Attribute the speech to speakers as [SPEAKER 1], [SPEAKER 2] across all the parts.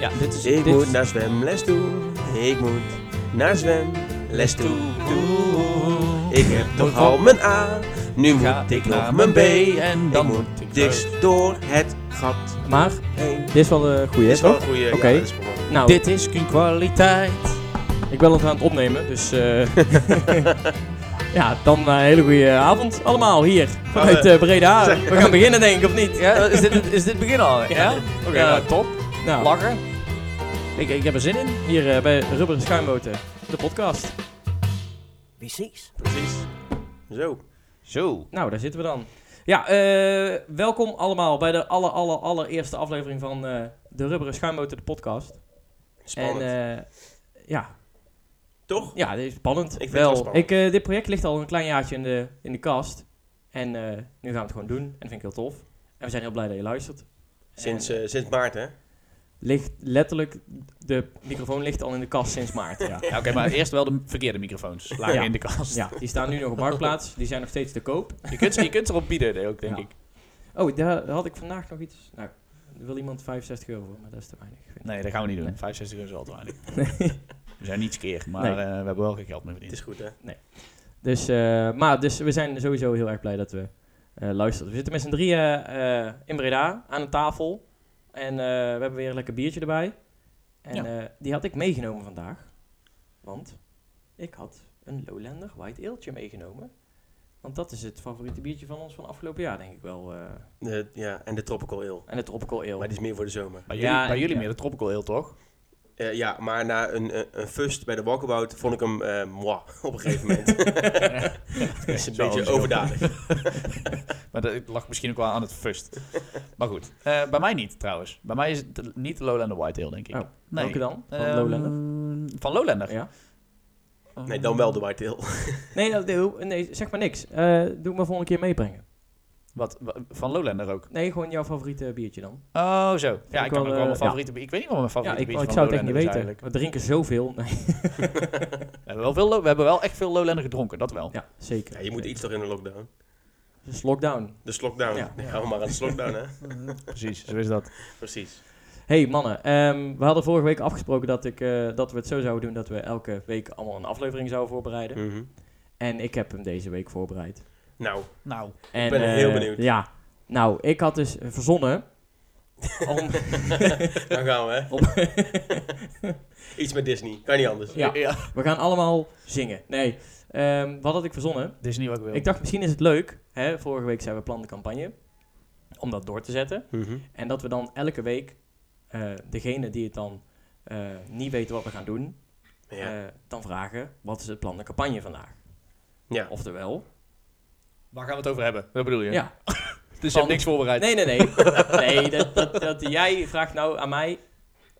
[SPEAKER 1] Ja, dit is...
[SPEAKER 2] Ik
[SPEAKER 1] dit
[SPEAKER 2] moet
[SPEAKER 1] is-
[SPEAKER 2] naar zwemles toe. Ik moet naar zwemles toe.
[SPEAKER 1] Toe.
[SPEAKER 2] Ik heb toch al mijn A. Nu
[SPEAKER 1] Ga
[SPEAKER 2] moet ik nog
[SPEAKER 1] naar
[SPEAKER 2] mijn B.
[SPEAKER 1] mijn B en dan
[SPEAKER 2] ik
[SPEAKER 1] moet ik
[SPEAKER 2] moet diks door het gat
[SPEAKER 3] Maar,
[SPEAKER 2] heen.
[SPEAKER 3] dit is wel een goeie,
[SPEAKER 2] Dit
[SPEAKER 3] hè,
[SPEAKER 2] is wel een
[SPEAKER 3] toch?
[SPEAKER 2] goeie.
[SPEAKER 3] Oké.
[SPEAKER 2] Ja, dit is wel mooi.
[SPEAKER 3] Nou,
[SPEAKER 1] Dit is geen kwaliteit.
[SPEAKER 3] ik ben het aan het opnemen, dus... eh, ja, dan eh, een hele goede avond allemaal hier vanuit eh, Breda. We gaan beginnen, denk ik, of niet?
[SPEAKER 1] Oh, Ja, Eh, is dit, is dit begin al? Ja? Oké,
[SPEAKER 3] Ja.
[SPEAKER 1] nou, top.
[SPEAKER 3] Nou,
[SPEAKER 1] Lachen.
[SPEAKER 3] ik, ik heb er zin in, hier eh, bij Rubberen Schuimboten, de podcast.
[SPEAKER 1] Precies.
[SPEAKER 2] Precies. Zo.
[SPEAKER 1] Zo.
[SPEAKER 3] Nou, daar zitten we dan. Ja, eh, welkom allemaal bij de aller, aller, allereerste aflevering van eh, de Rubberen Schuimboten, de podcast.
[SPEAKER 2] Spannend.
[SPEAKER 3] En eh, ja,
[SPEAKER 2] toch?
[SPEAKER 3] ja, dit is spannend.
[SPEAKER 2] vind het wel spannend.
[SPEAKER 3] Ik, eh, dit project ligt al een klein jaartje in de, in de kast. En eh, nu gaan we het gewoon doen. En dat vind ik heel tof. En we zijn heel blij dat je luistert.
[SPEAKER 2] Sinds,
[SPEAKER 3] En
[SPEAKER 2] eh, sinds maart, hè?
[SPEAKER 3] ligt letterlijk, de microfoon ligt al in de kast sinds maart. Ja,
[SPEAKER 1] Ja, Oké, maar eerst wel de verkeerde microfoons. Lagen
[SPEAKER 3] Ja.
[SPEAKER 1] in de kast.
[SPEAKER 3] ja die staan nu nog op marktplaats. Die zijn nog steeds te koop.
[SPEAKER 1] Je, kunt, je kunt erop bieden nee, ook, denk
[SPEAKER 3] Ja.
[SPEAKER 1] ik.
[SPEAKER 3] Oh, daar had ik vandaag nog iets. Nou, er wil iemand 65 euro voor, maar dat is te weinig. vind ik.
[SPEAKER 1] Nee, dat gaan we niet doen.
[SPEAKER 3] Nee.
[SPEAKER 1] 65 euro is al te weinig. We zijn niet skeer, maar
[SPEAKER 3] Nee.
[SPEAKER 1] eh, we hebben wel geen geld meer
[SPEAKER 2] Het
[SPEAKER 1] verdiend.
[SPEAKER 2] is goed, hè?
[SPEAKER 3] Dus, eh, maar dus we zijn sowieso heel erg blij dat we eh luisteren. We zitten met z'n drieën eh, in Breda aan een tafel. En eh, we hebben weer een lekker biertje erbij. En
[SPEAKER 1] Ja.
[SPEAKER 3] eh, die had ik meegenomen vandaag. Want ik had een Lowlander White Eeltje meegenomen. Want dat is het favoriete biertje van ons van afgelopen jaar, denk ik wel. eh.
[SPEAKER 2] De- ja, en de Tropical Ale.
[SPEAKER 3] en het Tropical Ale.
[SPEAKER 2] Maar die is meer voor de zomer.
[SPEAKER 1] Bij
[SPEAKER 3] Ja,
[SPEAKER 1] jullie, bij
[SPEAKER 3] en-
[SPEAKER 1] jullie
[SPEAKER 3] ja.
[SPEAKER 1] meer de tropical heel toch?
[SPEAKER 2] Eh, ja, maar na een, eh, een fust bij de walkabout vond ik hem eh moi op een gegeven moment.
[SPEAKER 1] Dat
[SPEAKER 2] is een beetje overdadig.
[SPEAKER 1] Maar dat lag misschien ook wel aan het fust. maar goed, eh, bij mij niet trouwens. Bij mij is het de- niet de Lowlander Whitetail, denk ik.
[SPEAKER 3] Oh,
[SPEAKER 1] nee.
[SPEAKER 3] Welke dan? Van
[SPEAKER 1] Ehm,
[SPEAKER 3] Lowlander?
[SPEAKER 1] Van Lowlander?
[SPEAKER 3] Ja.
[SPEAKER 2] Nee, dan wel de White Ale.
[SPEAKER 3] Nee, dat- dat- nee, zeg maar niks. Eh doe het maar volgende keer meebrengen.
[SPEAKER 1] Wat, wa- van Lowlander ook?
[SPEAKER 3] Nee, gewoon jouw favoriete biertje dan.
[SPEAKER 1] Oh, zo. Ja,
[SPEAKER 3] ik wel,
[SPEAKER 1] ik, kan ook wel mijn
[SPEAKER 3] eh,
[SPEAKER 1] favoriete... bier- Ik weet niet wat mijn
[SPEAKER 3] Ja,
[SPEAKER 1] favoriete
[SPEAKER 3] ik, oh,
[SPEAKER 1] biertje
[SPEAKER 3] ik zou
[SPEAKER 1] van
[SPEAKER 3] het echt niet
[SPEAKER 1] Lowlander
[SPEAKER 3] weten.
[SPEAKER 1] is eigenlijk.
[SPEAKER 3] We drinken zoveel. Nee.
[SPEAKER 1] We hebben, wel veel, Lo- we hebben wel echt veel Lowlander gedronken, dat wel.
[SPEAKER 3] Ja, zeker.
[SPEAKER 2] Ja, je moet iets toch in de lockdown?
[SPEAKER 3] Het is lockdown.
[SPEAKER 2] De slokdown.
[SPEAKER 3] Ja.
[SPEAKER 2] Dan gaan we maar aan de slokdown, hè?
[SPEAKER 1] Precies, zo is dat.
[SPEAKER 2] Precies.
[SPEAKER 3] Hey mannen, ehm, we hadden vorige week afgesproken dat, ik, eh, dat we het zo zouden doen dat we elke week allemaal een aflevering zouden voorbereiden.
[SPEAKER 2] Mhm.
[SPEAKER 3] En ik heb hem deze week voorbereid.
[SPEAKER 2] Nou,
[SPEAKER 1] Nou,
[SPEAKER 3] En,
[SPEAKER 2] ben
[SPEAKER 3] eh,
[SPEAKER 2] heel benieuwd.
[SPEAKER 3] Ja, nou, ik had dus verzonnen. om,
[SPEAKER 2] dan gaan we, hè?
[SPEAKER 3] om-
[SPEAKER 2] Iets met Disney. Kan niet anders.
[SPEAKER 3] Ja.
[SPEAKER 1] eh,
[SPEAKER 3] we gaan allemaal zingen. Nee, ehm, wat had ik verzonnen?
[SPEAKER 1] dit is niet wat ik wil.
[SPEAKER 3] Ik dacht, misschien is het leuk. Hè? Vorige week zijn we plan de campagne. Om dat door te zetten.
[SPEAKER 2] Mhm.
[SPEAKER 3] En dat we dan elke week eh, degene die het dan eh, niet weten wat we gaan doen,
[SPEAKER 2] Ja.
[SPEAKER 3] eh, dan vragen wat is het plan de campagne vandaag.
[SPEAKER 2] Ja.
[SPEAKER 3] Eh, Oftewel,
[SPEAKER 1] Waar gaan we het over hebben? Dat bedoel je?
[SPEAKER 3] ja.
[SPEAKER 1] Dus je
[SPEAKER 3] Van-
[SPEAKER 1] hebt niks voorbereid?
[SPEAKER 3] Nee, nee, nee. nee dat, dat, dat, jij vraagt nou aan mij.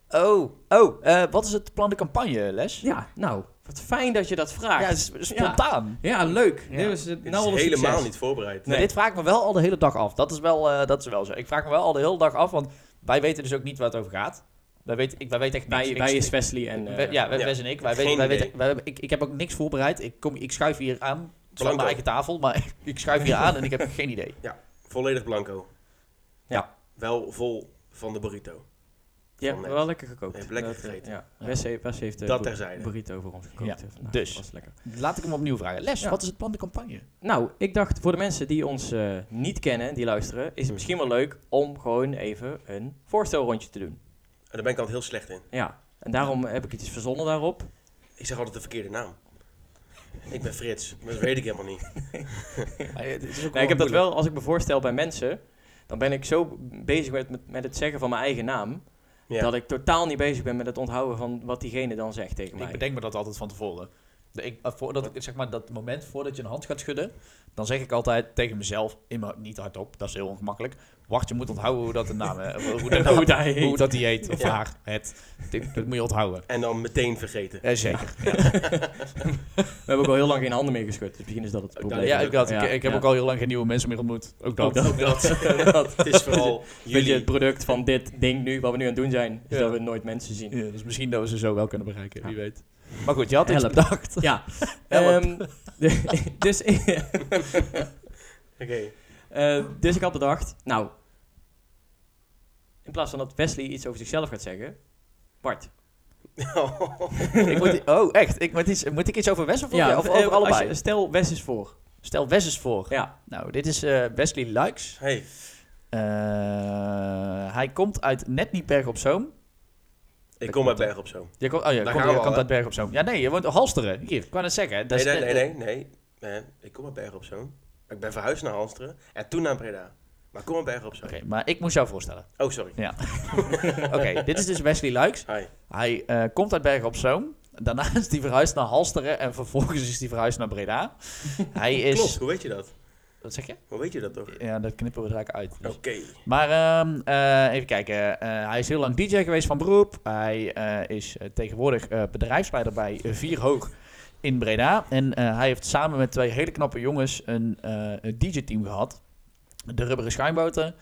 [SPEAKER 1] Oh, oh eh, wat is het plan de campagne, Les?
[SPEAKER 3] Ja, nou, wat fijn dat je dat
[SPEAKER 1] Ja,
[SPEAKER 3] vraagt.
[SPEAKER 1] het is spontaan.
[SPEAKER 3] Ja, leuk.
[SPEAKER 1] Ja.
[SPEAKER 3] Dit was, het-
[SPEAKER 2] Dit
[SPEAKER 3] nou al
[SPEAKER 2] is
[SPEAKER 3] een
[SPEAKER 2] helemaal
[SPEAKER 3] succes.
[SPEAKER 2] niet voorbereid.
[SPEAKER 1] Maar
[SPEAKER 3] Nee.
[SPEAKER 1] dit vraag ik me wel al de hele dag af. Dat is wel, eh, dat is wel zo. Ik vraag me wel al de hele dag af, want wij weten dus ook niet waar het over gaat. Wij weten, ik, wij weten echt niks.
[SPEAKER 3] Wij,
[SPEAKER 1] Ik-
[SPEAKER 3] wij
[SPEAKER 1] ik-
[SPEAKER 3] is Wesley en... eh,
[SPEAKER 1] we- ja, wij,
[SPEAKER 2] Ja.
[SPEAKER 1] Wes en ik. Wij
[SPEAKER 2] Geen
[SPEAKER 1] weten, wij
[SPEAKER 2] idee.
[SPEAKER 1] weten, wij hebben- ik, ik heb ook niks voorbereid. Ik, kom, ik schuif hier aan. Het is
[SPEAKER 2] Blanco.
[SPEAKER 1] wel mijn eigen tafel, maar ik, schuif hier aan en ik heb geen idee.
[SPEAKER 2] Volledig blanco.
[SPEAKER 3] Ja.
[SPEAKER 2] Wel vol van de burrito.
[SPEAKER 3] je
[SPEAKER 2] van
[SPEAKER 3] hebt
[SPEAKER 2] net.
[SPEAKER 3] wel lekker gekookt.
[SPEAKER 2] Je hebt lekker
[SPEAKER 3] Dat, eh,
[SPEAKER 2] gegeten.
[SPEAKER 3] Ja.
[SPEAKER 1] Ja.
[SPEAKER 3] Wes, heeft- Wes heeft eh,
[SPEAKER 2] Dat
[SPEAKER 3] bur-
[SPEAKER 2] terzijde.
[SPEAKER 3] burrito voor ons gekookt.
[SPEAKER 1] Ja,
[SPEAKER 3] eh, vandaag.
[SPEAKER 1] dus.
[SPEAKER 3] Dat was lekker.
[SPEAKER 1] Laat ik hem opnieuw vragen. Les,
[SPEAKER 3] Ja.
[SPEAKER 1] wat is het plan de campagne?
[SPEAKER 3] Nou, ik dacht voor de mensen die ons eh, niet kennen, die luisteren, is het misschien wel leuk om gewoon even een voorstelrondje te doen.
[SPEAKER 2] En daar ben ik altijd heel slecht in.
[SPEAKER 3] Ja, en daarom heb ik iets verzonnen daarop.
[SPEAKER 2] Ik zeg altijd de verkeerde naam. Ik ben Frits, maar dat weet ik helemaal niet.
[SPEAKER 1] Maar het is ook
[SPEAKER 3] Nee, ik heb dat
[SPEAKER 1] moeilijk.
[SPEAKER 3] wel, als ik me voorstel bij mensen, dan ben ik zo bezig met, met, met het zeggen van mijn eigen naam,
[SPEAKER 2] Ja.
[SPEAKER 3] dat ik totaal niet bezig ben met het onthouden van wat diegene dan zegt tegen mij.
[SPEAKER 1] Ik bedenk me dat altijd van tevoren. De- ik, eh, voordat ik, zeg maar, dat moment voordat je een hand gaat schudden, dan zeg ik altijd tegen mezelf, in mijn- niet hardop, dat is heel ongemakkelijk. Wacht, je moet onthouden hoe dat de naam, eh, hoe, de naam-
[SPEAKER 3] Hoe dat heet.
[SPEAKER 1] hoe dat die heet, of
[SPEAKER 2] Ja.
[SPEAKER 1] haar, het. Dit, dat moet je onthouden.
[SPEAKER 2] En dan meteen vergeten.
[SPEAKER 1] Eh, zeker.
[SPEAKER 3] We hebben ook al heel lang geen handen meer geschud, dus misschien is dat het
[SPEAKER 2] Ook dat-
[SPEAKER 3] probleem.
[SPEAKER 1] Ja, ik, dat,
[SPEAKER 3] Ja,
[SPEAKER 1] ik, ik heb
[SPEAKER 3] ja.
[SPEAKER 1] ook al heel lang geen nieuwe mensen meer ontmoet. Ook dat.
[SPEAKER 3] Ook dat.
[SPEAKER 2] Het is vooral
[SPEAKER 3] Weet je,
[SPEAKER 2] jullie.
[SPEAKER 3] het product van dit ding nu, wat we nu aan het doen zijn, is
[SPEAKER 1] Ja.
[SPEAKER 3] dat we nooit mensen zien.
[SPEAKER 1] Ja, dus misschien dat we ze zo wel kunnen bereiken,
[SPEAKER 3] Ja.
[SPEAKER 1] wie weet. Maar goed, je had iets
[SPEAKER 3] Help.
[SPEAKER 1] bedacht.
[SPEAKER 3] Ja,
[SPEAKER 1] Help.
[SPEAKER 3] ehm, de- dus,
[SPEAKER 2] Oké.
[SPEAKER 3] eh, dus ik had bedacht, nou, in plaats van dat Wesley iets over zichzelf gaat zeggen, Bart.
[SPEAKER 1] ik moet, oh, echt? Ik, moet, iets, moet ik iets over Wes of, ja, of
[SPEAKER 3] eh,
[SPEAKER 1] over
[SPEAKER 3] als
[SPEAKER 1] allebei?
[SPEAKER 3] je- stel, Wes is voor.
[SPEAKER 1] Stel Wes is voor.
[SPEAKER 3] Ja.
[SPEAKER 1] Nou, dit is eh, Wesley Luiks.
[SPEAKER 2] Hey,
[SPEAKER 1] Eh, hij komt uit net niet Berg op Zoom.
[SPEAKER 2] ik kom uit Berg op Zoom.
[SPEAKER 1] Je komt, oh ja,
[SPEAKER 2] Daar
[SPEAKER 1] kom,
[SPEAKER 2] gaan we
[SPEAKER 1] je
[SPEAKER 2] al,
[SPEAKER 1] komt
[SPEAKER 2] hè?
[SPEAKER 1] uit Berg op Zoom. Ja, nee, je woont in Halsteren. Hier, ik kan het zeggen. Dat
[SPEAKER 2] Nee,
[SPEAKER 1] is
[SPEAKER 2] nee,
[SPEAKER 1] net-
[SPEAKER 2] nee, nee, nee. Eh, ik kom uit Berg op Zoom. Ik ben verhuisd naar Halsteren en toen naar Breda. Maar ik kom uit Berg op Zoom.
[SPEAKER 1] Oké, maar ik moest jou voorstellen.
[SPEAKER 2] Oh, sorry.
[SPEAKER 1] Oké, dit is dus Wesley Luiks.
[SPEAKER 2] Hi.
[SPEAKER 1] Hij eh, komt uit Bergen op Zoom. Daarna is hij verhuisd naar Halsteren en vervolgens is hij verhuisd naar Breda. Hij is...
[SPEAKER 2] Klopt, hoe weet je dat?
[SPEAKER 1] Wat zeg je?
[SPEAKER 2] Hoe weet je dat toch?
[SPEAKER 1] Ja, dat knippen we er eigenlijk uit.
[SPEAKER 2] Oké.
[SPEAKER 1] dus. Maar ehm, eh, even kijken. Eh, hij is heel lang DJ geweest van beroep. Hij eh, is eh, tegenwoordig eh, bedrijfsleider bij Vier Hoog in Breda. En eh, hij heeft samen met twee hele knappe jongens een DJ-team gehad. De Rubberen Schuimboten.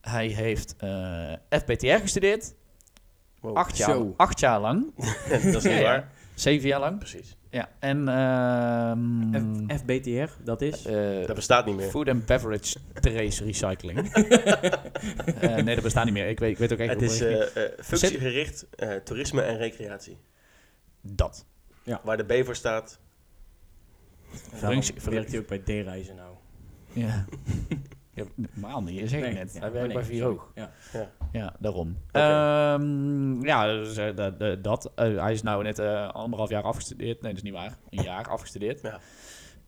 [SPEAKER 1] Hij heeft eh, FPTR gestudeerd.
[SPEAKER 2] Wow.
[SPEAKER 1] Acht, jaar,
[SPEAKER 3] Zo.
[SPEAKER 1] acht jaar lang.
[SPEAKER 2] dat is
[SPEAKER 1] Ja,
[SPEAKER 2] niet
[SPEAKER 1] ja.
[SPEAKER 2] waar.
[SPEAKER 1] Zeven jaar lang.
[SPEAKER 2] Precies.
[SPEAKER 1] Ja, en... ehm,
[SPEAKER 3] F- FBTR, dat is.
[SPEAKER 1] eh,
[SPEAKER 2] Dat bestaat niet meer.
[SPEAKER 1] Food and Beverage Trace Recycling. Eh, nee, dat bestaat niet meer. Ik weet, ik weet ook echt
[SPEAKER 2] Het
[SPEAKER 1] hoe
[SPEAKER 2] is
[SPEAKER 1] het
[SPEAKER 2] eh,
[SPEAKER 1] ging.
[SPEAKER 2] eh, functiegericht eh, toerisme en recreatie.
[SPEAKER 1] dat.
[SPEAKER 2] Waar de B voor staat.
[SPEAKER 1] Waarom
[SPEAKER 3] Verrukt
[SPEAKER 1] werkt
[SPEAKER 3] hij ook bij D-reizen nou?
[SPEAKER 1] Ja. ja, normaal niet, zeg ik net. Oh, Hij werkt bij Vier Hoog.
[SPEAKER 3] Ja.
[SPEAKER 1] Ja, daarom.
[SPEAKER 2] Oké.
[SPEAKER 1] Ehm, ja, dus, eh, dat. dat- dat. Eh, hij is nou net eh, anderhalf jaar afgestudeerd. Nee, dat is niet waar. Een jaar afgestudeerd.
[SPEAKER 2] Ja.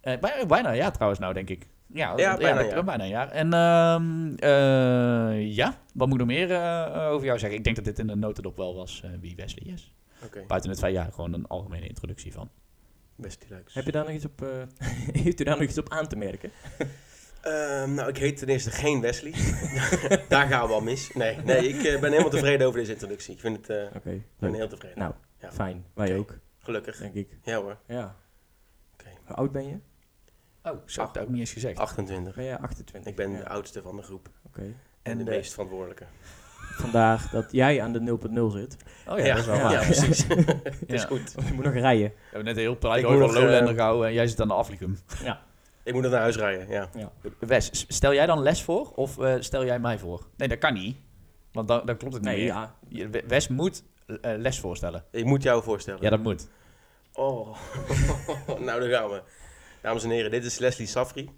[SPEAKER 1] Eh, bij- bijna een jaar trouwens nou, denk ik. Ja,
[SPEAKER 2] Ja, bijna
[SPEAKER 1] dat-
[SPEAKER 2] een jaar.
[SPEAKER 1] bijna een jaar. En ehm, eh, ja, wat moet ik nog meer eh, over jou zeggen? Ik denk dat dit in de notendop wel was eh, wie Wesley is.
[SPEAKER 2] Oké,
[SPEAKER 1] Buiten het twee jaar gewoon een algemene introductie van.
[SPEAKER 2] best relaxed.
[SPEAKER 3] Heb je daar nog iets op, eh, heeft u daar nog iets op aan te merken?
[SPEAKER 2] Ehm, nou, ik heet ten eerste geen Wesley. Daar gaan we al mis. Nee, nee ik eh, ben helemaal tevreden over deze introductie. Ik vind het, eh, ik
[SPEAKER 3] Oké,
[SPEAKER 2] ben heel tevreden.
[SPEAKER 3] Nou,
[SPEAKER 2] Ja.
[SPEAKER 3] fijn. Wij ook,
[SPEAKER 2] Gelukkig.
[SPEAKER 3] denk ik.
[SPEAKER 2] Ja hoor,
[SPEAKER 3] Ja.
[SPEAKER 2] Oké.
[SPEAKER 3] Hoe oud ben je?
[SPEAKER 1] Oh, zo heb ik dat ook niet eens gezegd.
[SPEAKER 2] 28.
[SPEAKER 3] Ben jij 28?
[SPEAKER 2] Ik ben
[SPEAKER 3] Ja,
[SPEAKER 2] de oudste van de groep
[SPEAKER 3] Oké.
[SPEAKER 2] en, de
[SPEAKER 1] de-
[SPEAKER 2] meest verantwoordelijke.
[SPEAKER 3] Vandaar dat jij aan de 0.0 zit.
[SPEAKER 1] Oh ja, dat is wel
[SPEAKER 2] ja,
[SPEAKER 1] waar.
[SPEAKER 2] precies. Het is
[SPEAKER 1] Ja.
[SPEAKER 2] goed.
[SPEAKER 3] Je moet nog rijden.
[SPEAKER 1] We hebben net een heel praatje
[SPEAKER 2] Ik moet
[SPEAKER 1] over
[SPEAKER 2] nog, eh,
[SPEAKER 1] Lowlander gehouden en jij zit aan de aflicum.
[SPEAKER 2] Ik moet nog naar huis rijden, ja.
[SPEAKER 1] Wes, s- stel jij dan les voor of eh, stel jij mij voor? Nee, dat kan niet, want dan, dan klopt het niet
[SPEAKER 3] Nee,
[SPEAKER 1] meer.
[SPEAKER 3] ja.
[SPEAKER 1] Je- We- Wes moet eh, les voorstellen.
[SPEAKER 2] Ik moet jou voorstellen.
[SPEAKER 1] Ja, dat moet.
[SPEAKER 2] Oh, nou daar gaan we. Dames en heren, dit is Leslie Safri.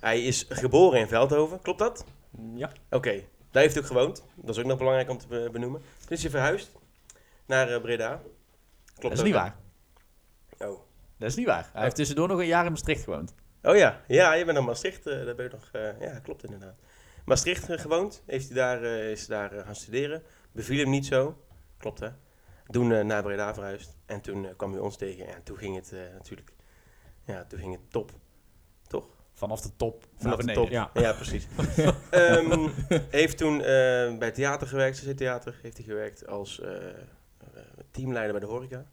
[SPEAKER 2] Hij is geboren in Veldhoven, klopt dat?
[SPEAKER 3] Ja.
[SPEAKER 2] Oké, daar heeft hij ook gewoond. Dat is ook nog belangrijk om te be- benoemen. Toen is hij verhuisd naar eh, Breda. Klopt
[SPEAKER 1] dat is
[SPEAKER 2] ook,
[SPEAKER 1] niet
[SPEAKER 2] hè?
[SPEAKER 1] waar.
[SPEAKER 2] Oh.
[SPEAKER 1] Dat is niet waar. Hij heeft tussendoor nog een jaar in Maastricht gewoond.
[SPEAKER 2] Oh ja, ja, je bent naar Maastricht. eh, daar ben je nog. eh, ja, klopt inderdaad. Maastricht eh, gewoond. Heeft hij daar, eh, is daar eh, gaan studeren. Beviel hem niet zo. Klopt hè. Toen eh, naar Breda verhuisd. En toen eh, kwam hij ons tegen. En toen ging het eh, natuurlijk. Ja, toen ging het top.
[SPEAKER 1] Vanaf de top naar
[SPEAKER 2] Vanaf de
[SPEAKER 1] beneden.
[SPEAKER 2] top.
[SPEAKER 3] Ja.
[SPEAKER 2] Ja, precies. Ehm, heeft toen eh, bij theater gewerkt, CC Theater. Heeft hij gewerkt als eh, eh, teamleider bij de horeca.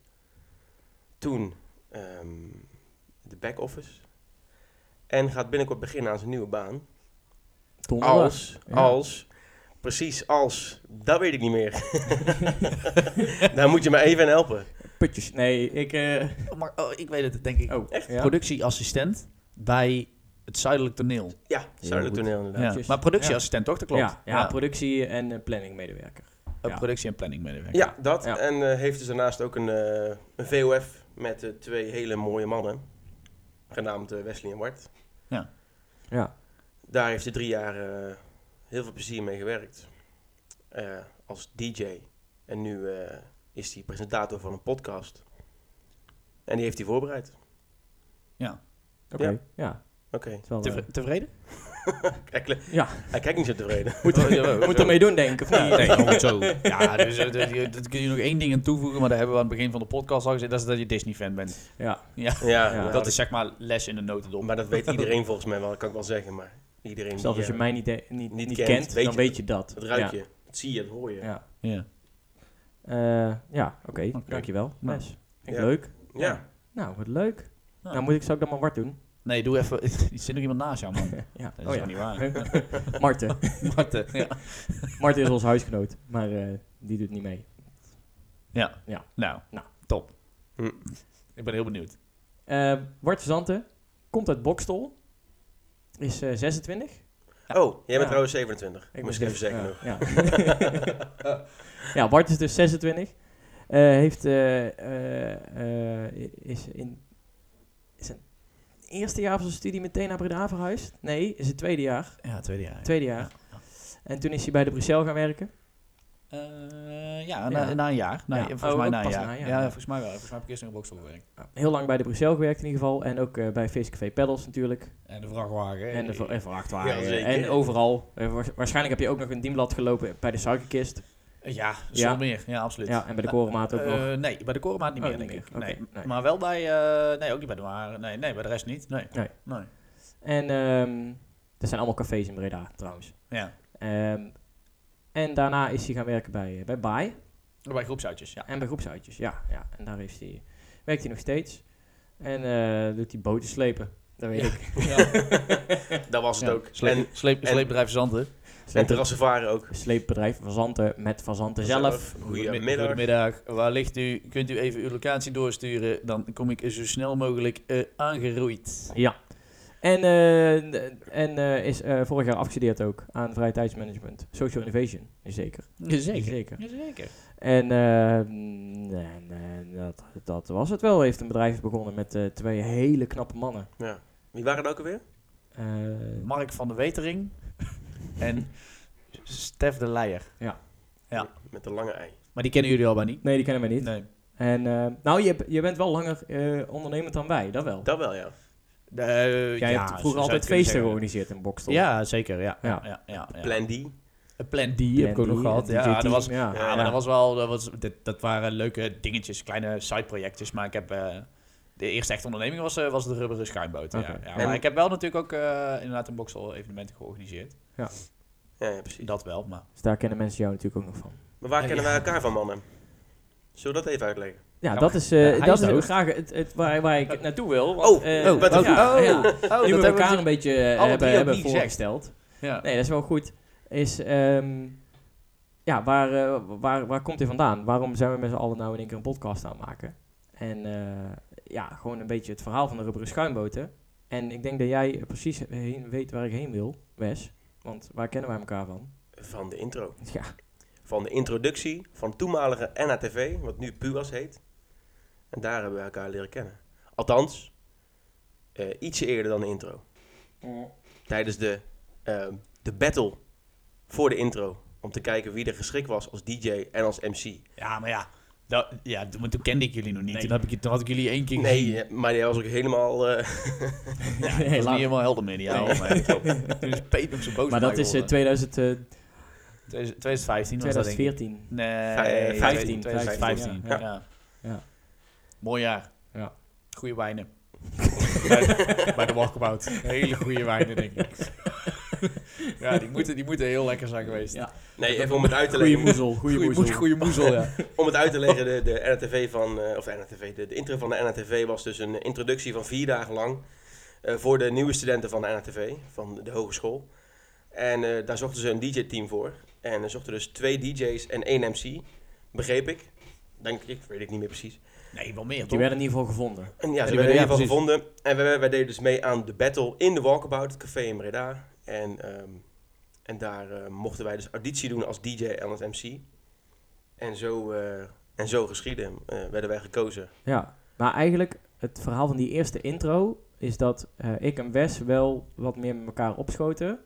[SPEAKER 2] Toen ehm, de back-office. En gaat binnenkort beginnen aan zijn nieuwe baan.
[SPEAKER 3] Donderdag.
[SPEAKER 2] Als,
[SPEAKER 3] Ja.
[SPEAKER 2] als, precies als. Dat weet ik niet meer. Daar moet je me even aan helpen.
[SPEAKER 3] Putjes. Nee, ik... eh,
[SPEAKER 1] Oh, maar, oh, ik weet het, denk ik.
[SPEAKER 3] oh, echt? Ja.
[SPEAKER 1] Productieassistent bij het Zuidelijk Toneel.
[SPEAKER 2] Ja, zuidelijk
[SPEAKER 3] goed.
[SPEAKER 2] toneel inderdaad.
[SPEAKER 1] Ja.
[SPEAKER 3] Netjes.
[SPEAKER 1] Maar productieassistent toch? Dat klopt.
[SPEAKER 3] Ja, ja, productie- en eh, planningmedewerker.
[SPEAKER 1] Een
[SPEAKER 3] ja.
[SPEAKER 1] productie- en planningmedewerker.
[SPEAKER 2] Ja, dat.
[SPEAKER 3] Ja.
[SPEAKER 2] En eh, heeft dus daarnaast ook een, eh, een VOF met eh, twee hele mooie mannen. Genaamd eh, Wesley en Bart.
[SPEAKER 3] Ja.
[SPEAKER 2] Daar heeft hij drie jaar eh, heel veel plezier mee gewerkt. Eh, als DJ. En nu eh, is hij presentator van een podcast. En die heeft hij voorbereid.
[SPEAKER 3] Oké.
[SPEAKER 2] Ja.
[SPEAKER 3] Ja.
[SPEAKER 2] Oké.
[SPEAKER 3] het is wel, eh,
[SPEAKER 1] Tevre- tevreden?
[SPEAKER 2] Hij, kle-
[SPEAKER 3] Ja.
[SPEAKER 2] hij kijkt niet zo tevreden.
[SPEAKER 3] eh, Moet,
[SPEAKER 1] Oh, jawel,
[SPEAKER 3] moet
[SPEAKER 1] zo.
[SPEAKER 3] ermee doen, denk ik. Of niet?
[SPEAKER 1] Nee, oh, zo. Ja, dus eh, dat- je- dat kun je nog één ding aan toevoegen, maar daar hebben we aan het begin van de podcast al gezegd. Dat is dat je Disney-fan bent.
[SPEAKER 3] Ja.
[SPEAKER 2] ja,
[SPEAKER 3] Ja.
[SPEAKER 2] nou,
[SPEAKER 1] dat is zeg maar les in de notendop.
[SPEAKER 2] Maar dat weet iedereen volgens mij wel. Dat kan ik wel zeggen. Maar iedereen.
[SPEAKER 3] Zelfs als
[SPEAKER 2] die,
[SPEAKER 3] je
[SPEAKER 2] eh,
[SPEAKER 3] mij niet, eh, niet,
[SPEAKER 2] niet
[SPEAKER 3] niet,
[SPEAKER 2] kent,
[SPEAKER 3] kent,
[SPEAKER 2] weet
[SPEAKER 3] dan
[SPEAKER 2] je
[SPEAKER 3] weet je dat.
[SPEAKER 2] Dat ruik je. Dat zie je, dat hoor je.
[SPEAKER 3] Ja,
[SPEAKER 2] Ja.
[SPEAKER 3] ja.
[SPEAKER 1] Ja.
[SPEAKER 3] Eh, ja oké.
[SPEAKER 1] Oké.
[SPEAKER 3] Dankjewel,
[SPEAKER 1] Nou.
[SPEAKER 3] Mes. Vind ik
[SPEAKER 2] Ja.
[SPEAKER 3] leuk. Nou, wat leuk.
[SPEAKER 1] Ja.
[SPEAKER 3] Nou, moet ik, zou ik dan maar Bart doen?
[SPEAKER 1] Nee, doe even. Er zit nog iemand naast jou, man. Dat
[SPEAKER 3] Ja.
[SPEAKER 1] is
[SPEAKER 3] oh
[SPEAKER 1] toch
[SPEAKER 3] ja.
[SPEAKER 1] niet waar. eh,
[SPEAKER 3] Marten.
[SPEAKER 1] Marten, ja.
[SPEAKER 3] Marten is ons huisgenoot, maar eh, die doet niet mee.
[SPEAKER 1] Ja.
[SPEAKER 3] Ja.
[SPEAKER 1] Nou,
[SPEAKER 3] Nou.
[SPEAKER 1] top.
[SPEAKER 2] Hm.
[SPEAKER 1] Ik ben heel benieuwd.
[SPEAKER 3] Eh Bart Verzanten komt uit Bokstel. Is eh, 26.
[SPEAKER 2] Oh, jij bent
[SPEAKER 3] Ja.
[SPEAKER 2] trouwens 27.
[SPEAKER 3] Ik
[SPEAKER 2] moest
[SPEAKER 3] ben
[SPEAKER 2] ik even zeggen. nog.
[SPEAKER 3] dus- Ja. ja, Bart is dus 26. Eh, heeft, eh, eh, eh, is in zijn eerste jaar van zijn studie meteen naar Breda verhuisd? Nee, is het tweede jaar.
[SPEAKER 1] Ja, tweede jaar.
[SPEAKER 3] Tweede jaar. En toen is hij bij de Bruxelles gaan werken.
[SPEAKER 1] Eh,
[SPEAKER 3] Ja.
[SPEAKER 1] ja, Na, na een jaar. Na,
[SPEAKER 3] Ja.
[SPEAKER 1] Volgens
[SPEAKER 3] Oh,
[SPEAKER 1] mij
[SPEAKER 3] ook
[SPEAKER 1] na een
[SPEAKER 3] pas
[SPEAKER 1] jaar.
[SPEAKER 3] na een jaar.
[SPEAKER 1] Ja, volgens mij wel. Volgens mij heb ik eerst nog een boksel gewerkt.
[SPEAKER 3] Heel lang bij de Bruxelles gewerkt in ieder geval. En ook eh, bij Feestcafé Pedals natuurlijk.
[SPEAKER 1] En de vrachtwagen. Eh,
[SPEAKER 3] En de ver- en
[SPEAKER 2] Ja,
[SPEAKER 3] vrachtwagen.
[SPEAKER 2] zeker.
[SPEAKER 3] en overal. Eh, waars- waarschijnlijk heb je ook nog een dienblad gelopen bij de suikerkist.
[SPEAKER 1] Ja, zonder
[SPEAKER 3] Ja.
[SPEAKER 1] meer. Ja, absoluut.
[SPEAKER 3] Ja, en bij de korenmaat ook nog.
[SPEAKER 1] Eh, nee, bij de korenmaat niet
[SPEAKER 3] Oh,
[SPEAKER 1] meer,
[SPEAKER 3] niet
[SPEAKER 1] denk ik.
[SPEAKER 3] meer.
[SPEAKER 1] Nee.
[SPEAKER 3] Oké, nee.
[SPEAKER 1] Maar wel bij... eh, nee, ook niet bij de waren. Nee, nee, bij de rest niet. Nee.
[SPEAKER 3] Nee.
[SPEAKER 1] nee.
[SPEAKER 3] En ehm er zijn allemaal cafés in Breda trouwens.
[SPEAKER 1] Ja.
[SPEAKER 3] Ehm, en daarna is hij gaan werken bij, eh, bij Baai
[SPEAKER 1] Bij groepsuitjes, ja.
[SPEAKER 3] en bij groepsuitjes. Ja, ja. en daar heeft hij, werkt hij nog steeds. En eh, doet hij bootjes slepen. Dat weet ik.
[SPEAKER 2] Dat was het
[SPEAKER 1] Ja.
[SPEAKER 2] ook.
[SPEAKER 1] Sleep,
[SPEAKER 2] En,
[SPEAKER 1] sleep, sleepbedrijf Zanten.
[SPEAKER 2] en
[SPEAKER 3] Sleep-
[SPEAKER 2] terrassen varen ook.
[SPEAKER 3] Sleepbedrijf Verzanten met Verzanten zelf.
[SPEAKER 2] Goedemiddag.
[SPEAKER 1] Goedemiddag. Waar ligt u? Kunt u even uw locatie doorsturen? Dan kom ik zo snel mogelijk eh, aangeroeid.
[SPEAKER 3] Ja. En, eh, en eh, is eh, vorig jaar afgestudeerd ook aan vrije tijdsmanagement. Social innovation, zeker. Zeker.
[SPEAKER 1] Zeker.
[SPEAKER 3] En, eh, en, eh, dat, dat was het wel. Heeft een bedrijf begonnen met eh, twee hele knappe mannen.
[SPEAKER 2] Ja. Wie waren het ook alweer?
[SPEAKER 3] Eh,
[SPEAKER 1] Mark van der Wetering en Stef de Leijer. Ja.
[SPEAKER 2] Met de lange ei.
[SPEAKER 1] Maar die kennen jullie al maar niet.
[SPEAKER 3] nee, die kennen we niet.
[SPEAKER 1] Nee.
[SPEAKER 3] En, eh, nou, je, je bent wel langer eh ondernemend dan wij, dat wel.
[SPEAKER 2] Dat wel, ja.
[SPEAKER 1] Eh,
[SPEAKER 3] Jij
[SPEAKER 1] ja,
[SPEAKER 3] hebt
[SPEAKER 1] zo zou
[SPEAKER 3] vroeger altijd
[SPEAKER 1] je het kunnen
[SPEAKER 3] feesten
[SPEAKER 1] zeggen.
[SPEAKER 3] georganiseerd in Bokstel.
[SPEAKER 1] Ja, zeker. Ja.
[SPEAKER 3] Ja.
[SPEAKER 1] Ja. Ja, ja,
[SPEAKER 2] Plan D.
[SPEAKER 1] Een Plan D heb ik ook nog gehad. Ja, dat was,
[SPEAKER 3] Ja,
[SPEAKER 1] ja,
[SPEAKER 2] Ja,
[SPEAKER 1] maar
[SPEAKER 2] ja.
[SPEAKER 1] dat was wel... Dat, was, dit, dat waren leuke dingetjes, kleine sideprojectjes. Maar ik heb... eh, de eerste echte onderneming was, eh, was de rubberen schuimboot. ja.
[SPEAKER 3] Oké.
[SPEAKER 1] Ja,
[SPEAKER 2] En-
[SPEAKER 1] maar ik heb wel natuurlijk ook eh, inderdaad een boksel evenementen georganiseerd.
[SPEAKER 2] Ja, ja, precies. Oh,
[SPEAKER 1] Dat wel, maar...
[SPEAKER 3] Dus daar kennen mensen jou natuurlijk ook nog van.
[SPEAKER 2] Maar waar
[SPEAKER 1] Ja,
[SPEAKER 2] kennen
[SPEAKER 1] ja.
[SPEAKER 2] wij elkaar van, mannen? Zullen we dat even uitleggen?
[SPEAKER 3] Ja,
[SPEAKER 1] Ja,
[SPEAKER 3] dat is, eh,
[SPEAKER 1] ja, hij
[SPEAKER 3] dat
[SPEAKER 1] is
[SPEAKER 3] is
[SPEAKER 1] dood.
[SPEAKER 3] graag het, het waar, waar ik naartoe wil.
[SPEAKER 2] Oh,
[SPEAKER 3] eh,
[SPEAKER 2] oh, wat
[SPEAKER 3] ja,
[SPEAKER 2] een-
[SPEAKER 3] ja,
[SPEAKER 1] oh,
[SPEAKER 3] ja. Nu
[SPEAKER 1] oh, dat
[SPEAKER 3] we
[SPEAKER 1] hebben
[SPEAKER 3] elkaar
[SPEAKER 1] we
[SPEAKER 3] een beetje eh,
[SPEAKER 1] alle
[SPEAKER 3] hebben,
[SPEAKER 1] drie ook
[SPEAKER 3] hebben
[SPEAKER 1] niet gezegd.
[SPEAKER 3] voorgesteld.
[SPEAKER 1] Ja.
[SPEAKER 3] Nee, dat is wel goed. Is, ehm, ja, waar, eh, waar, waar komt dit vandaan? Waarom zijn we met z'n allen nou in één keer een podcast aan het maken? En eh, ja, gewoon een beetje het verhaal van de rubberen schuimboten. En ik denk dat jij precies heen weet waar ik heen wil, Wes. Want waar kennen wij elkaar van?
[SPEAKER 2] Van de intro.
[SPEAKER 3] Ja,
[SPEAKER 2] Van de introductie van toenmalige NHTV, wat nu PUAS heet. En daar hebben we elkaar leren kennen. Althans, eh, ietsje eerder dan de intro. Tijdens de, ehm, de battle voor de intro. Om te kijken wie er geschikt was als DJ en als MC.
[SPEAKER 1] Ja, maar ja. Dat, ja, toen- maar toen kende ik jullie nog niet.
[SPEAKER 3] Nee.
[SPEAKER 1] Toen, heb ik, toen had ik jullie één keer gezien.
[SPEAKER 2] Nee, eh, maar die was ook helemaal... eh,
[SPEAKER 1] Ja, dat was
[SPEAKER 3] Helaas.
[SPEAKER 1] niet helemaal helder meer, die ouwe, maar klopt. Toen is Peet nog zo boos
[SPEAKER 3] maar
[SPEAKER 1] op
[SPEAKER 3] dat
[SPEAKER 1] mij
[SPEAKER 3] is eh,
[SPEAKER 1] geworden.
[SPEAKER 3] 2000, eh,
[SPEAKER 1] 2015 was dat denk ik.
[SPEAKER 3] 2014.
[SPEAKER 2] eh,
[SPEAKER 1] Nee,
[SPEAKER 3] 15,
[SPEAKER 1] 2015.
[SPEAKER 3] 2015, ja.
[SPEAKER 1] Ja. Ja.
[SPEAKER 3] Ja.
[SPEAKER 1] Mooi jaar.
[SPEAKER 3] Ja.
[SPEAKER 1] Goeie wijnen. bij, bij de walkabout. Hele goede wijnen, denk ik. ja, die moeten, die moeten heel lekker zijn geweest.
[SPEAKER 3] Ja.
[SPEAKER 2] nee, even om het uit te
[SPEAKER 3] Goeie
[SPEAKER 2] leggen.
[SPEAKER 3] moezel, goeie
[SPEAKER 1] Goeie, moes-
[SPEAKER 3] moezel.
[SPEAKER 1] goeie moezel, ja.
[SPEAKER 2] Om het uit te leggen, de, de NRTV van, eh, of de NRTV, de, de intro van de NRTV was dus een introductie van vier dagen lang eh, voor de nieuwe studenten van de NRTV, van de hogeschool. En eh, daar zochten ze een DJ-team voor. En er zochten dus twee DJ's en één MC, begreep ik. Denk ik, weet ik niet meer precies.
[SPEAKER 1] Nee, wel meer,
[SPEAKER 3] Die
[SPEAKER 1] toch?
[SPEAKER 3] werden in ieder geval gevonden.
[SPEAKER 2] En ja, ze werden in
[SPEAKER 1] die werden- ja,
[SPEAKER 2] ieder geval
[SPEAKER 1] precies.
[SPEAKER 2] gevonden. En wij, wij deden dus mee aan de battle in de Walkabout, het café in Breda. En, ehm, en daar eh, mochten wij dus auditie doen als DJ en als MC. En zo, eh, en zo geschieden eh, werden wij gekozen.
[SPEAKER 3] Ja, maar eigenlijk het verhaal van die eerste intro is dat eh, ik en Wes wel wat meer met elkaar opschoten.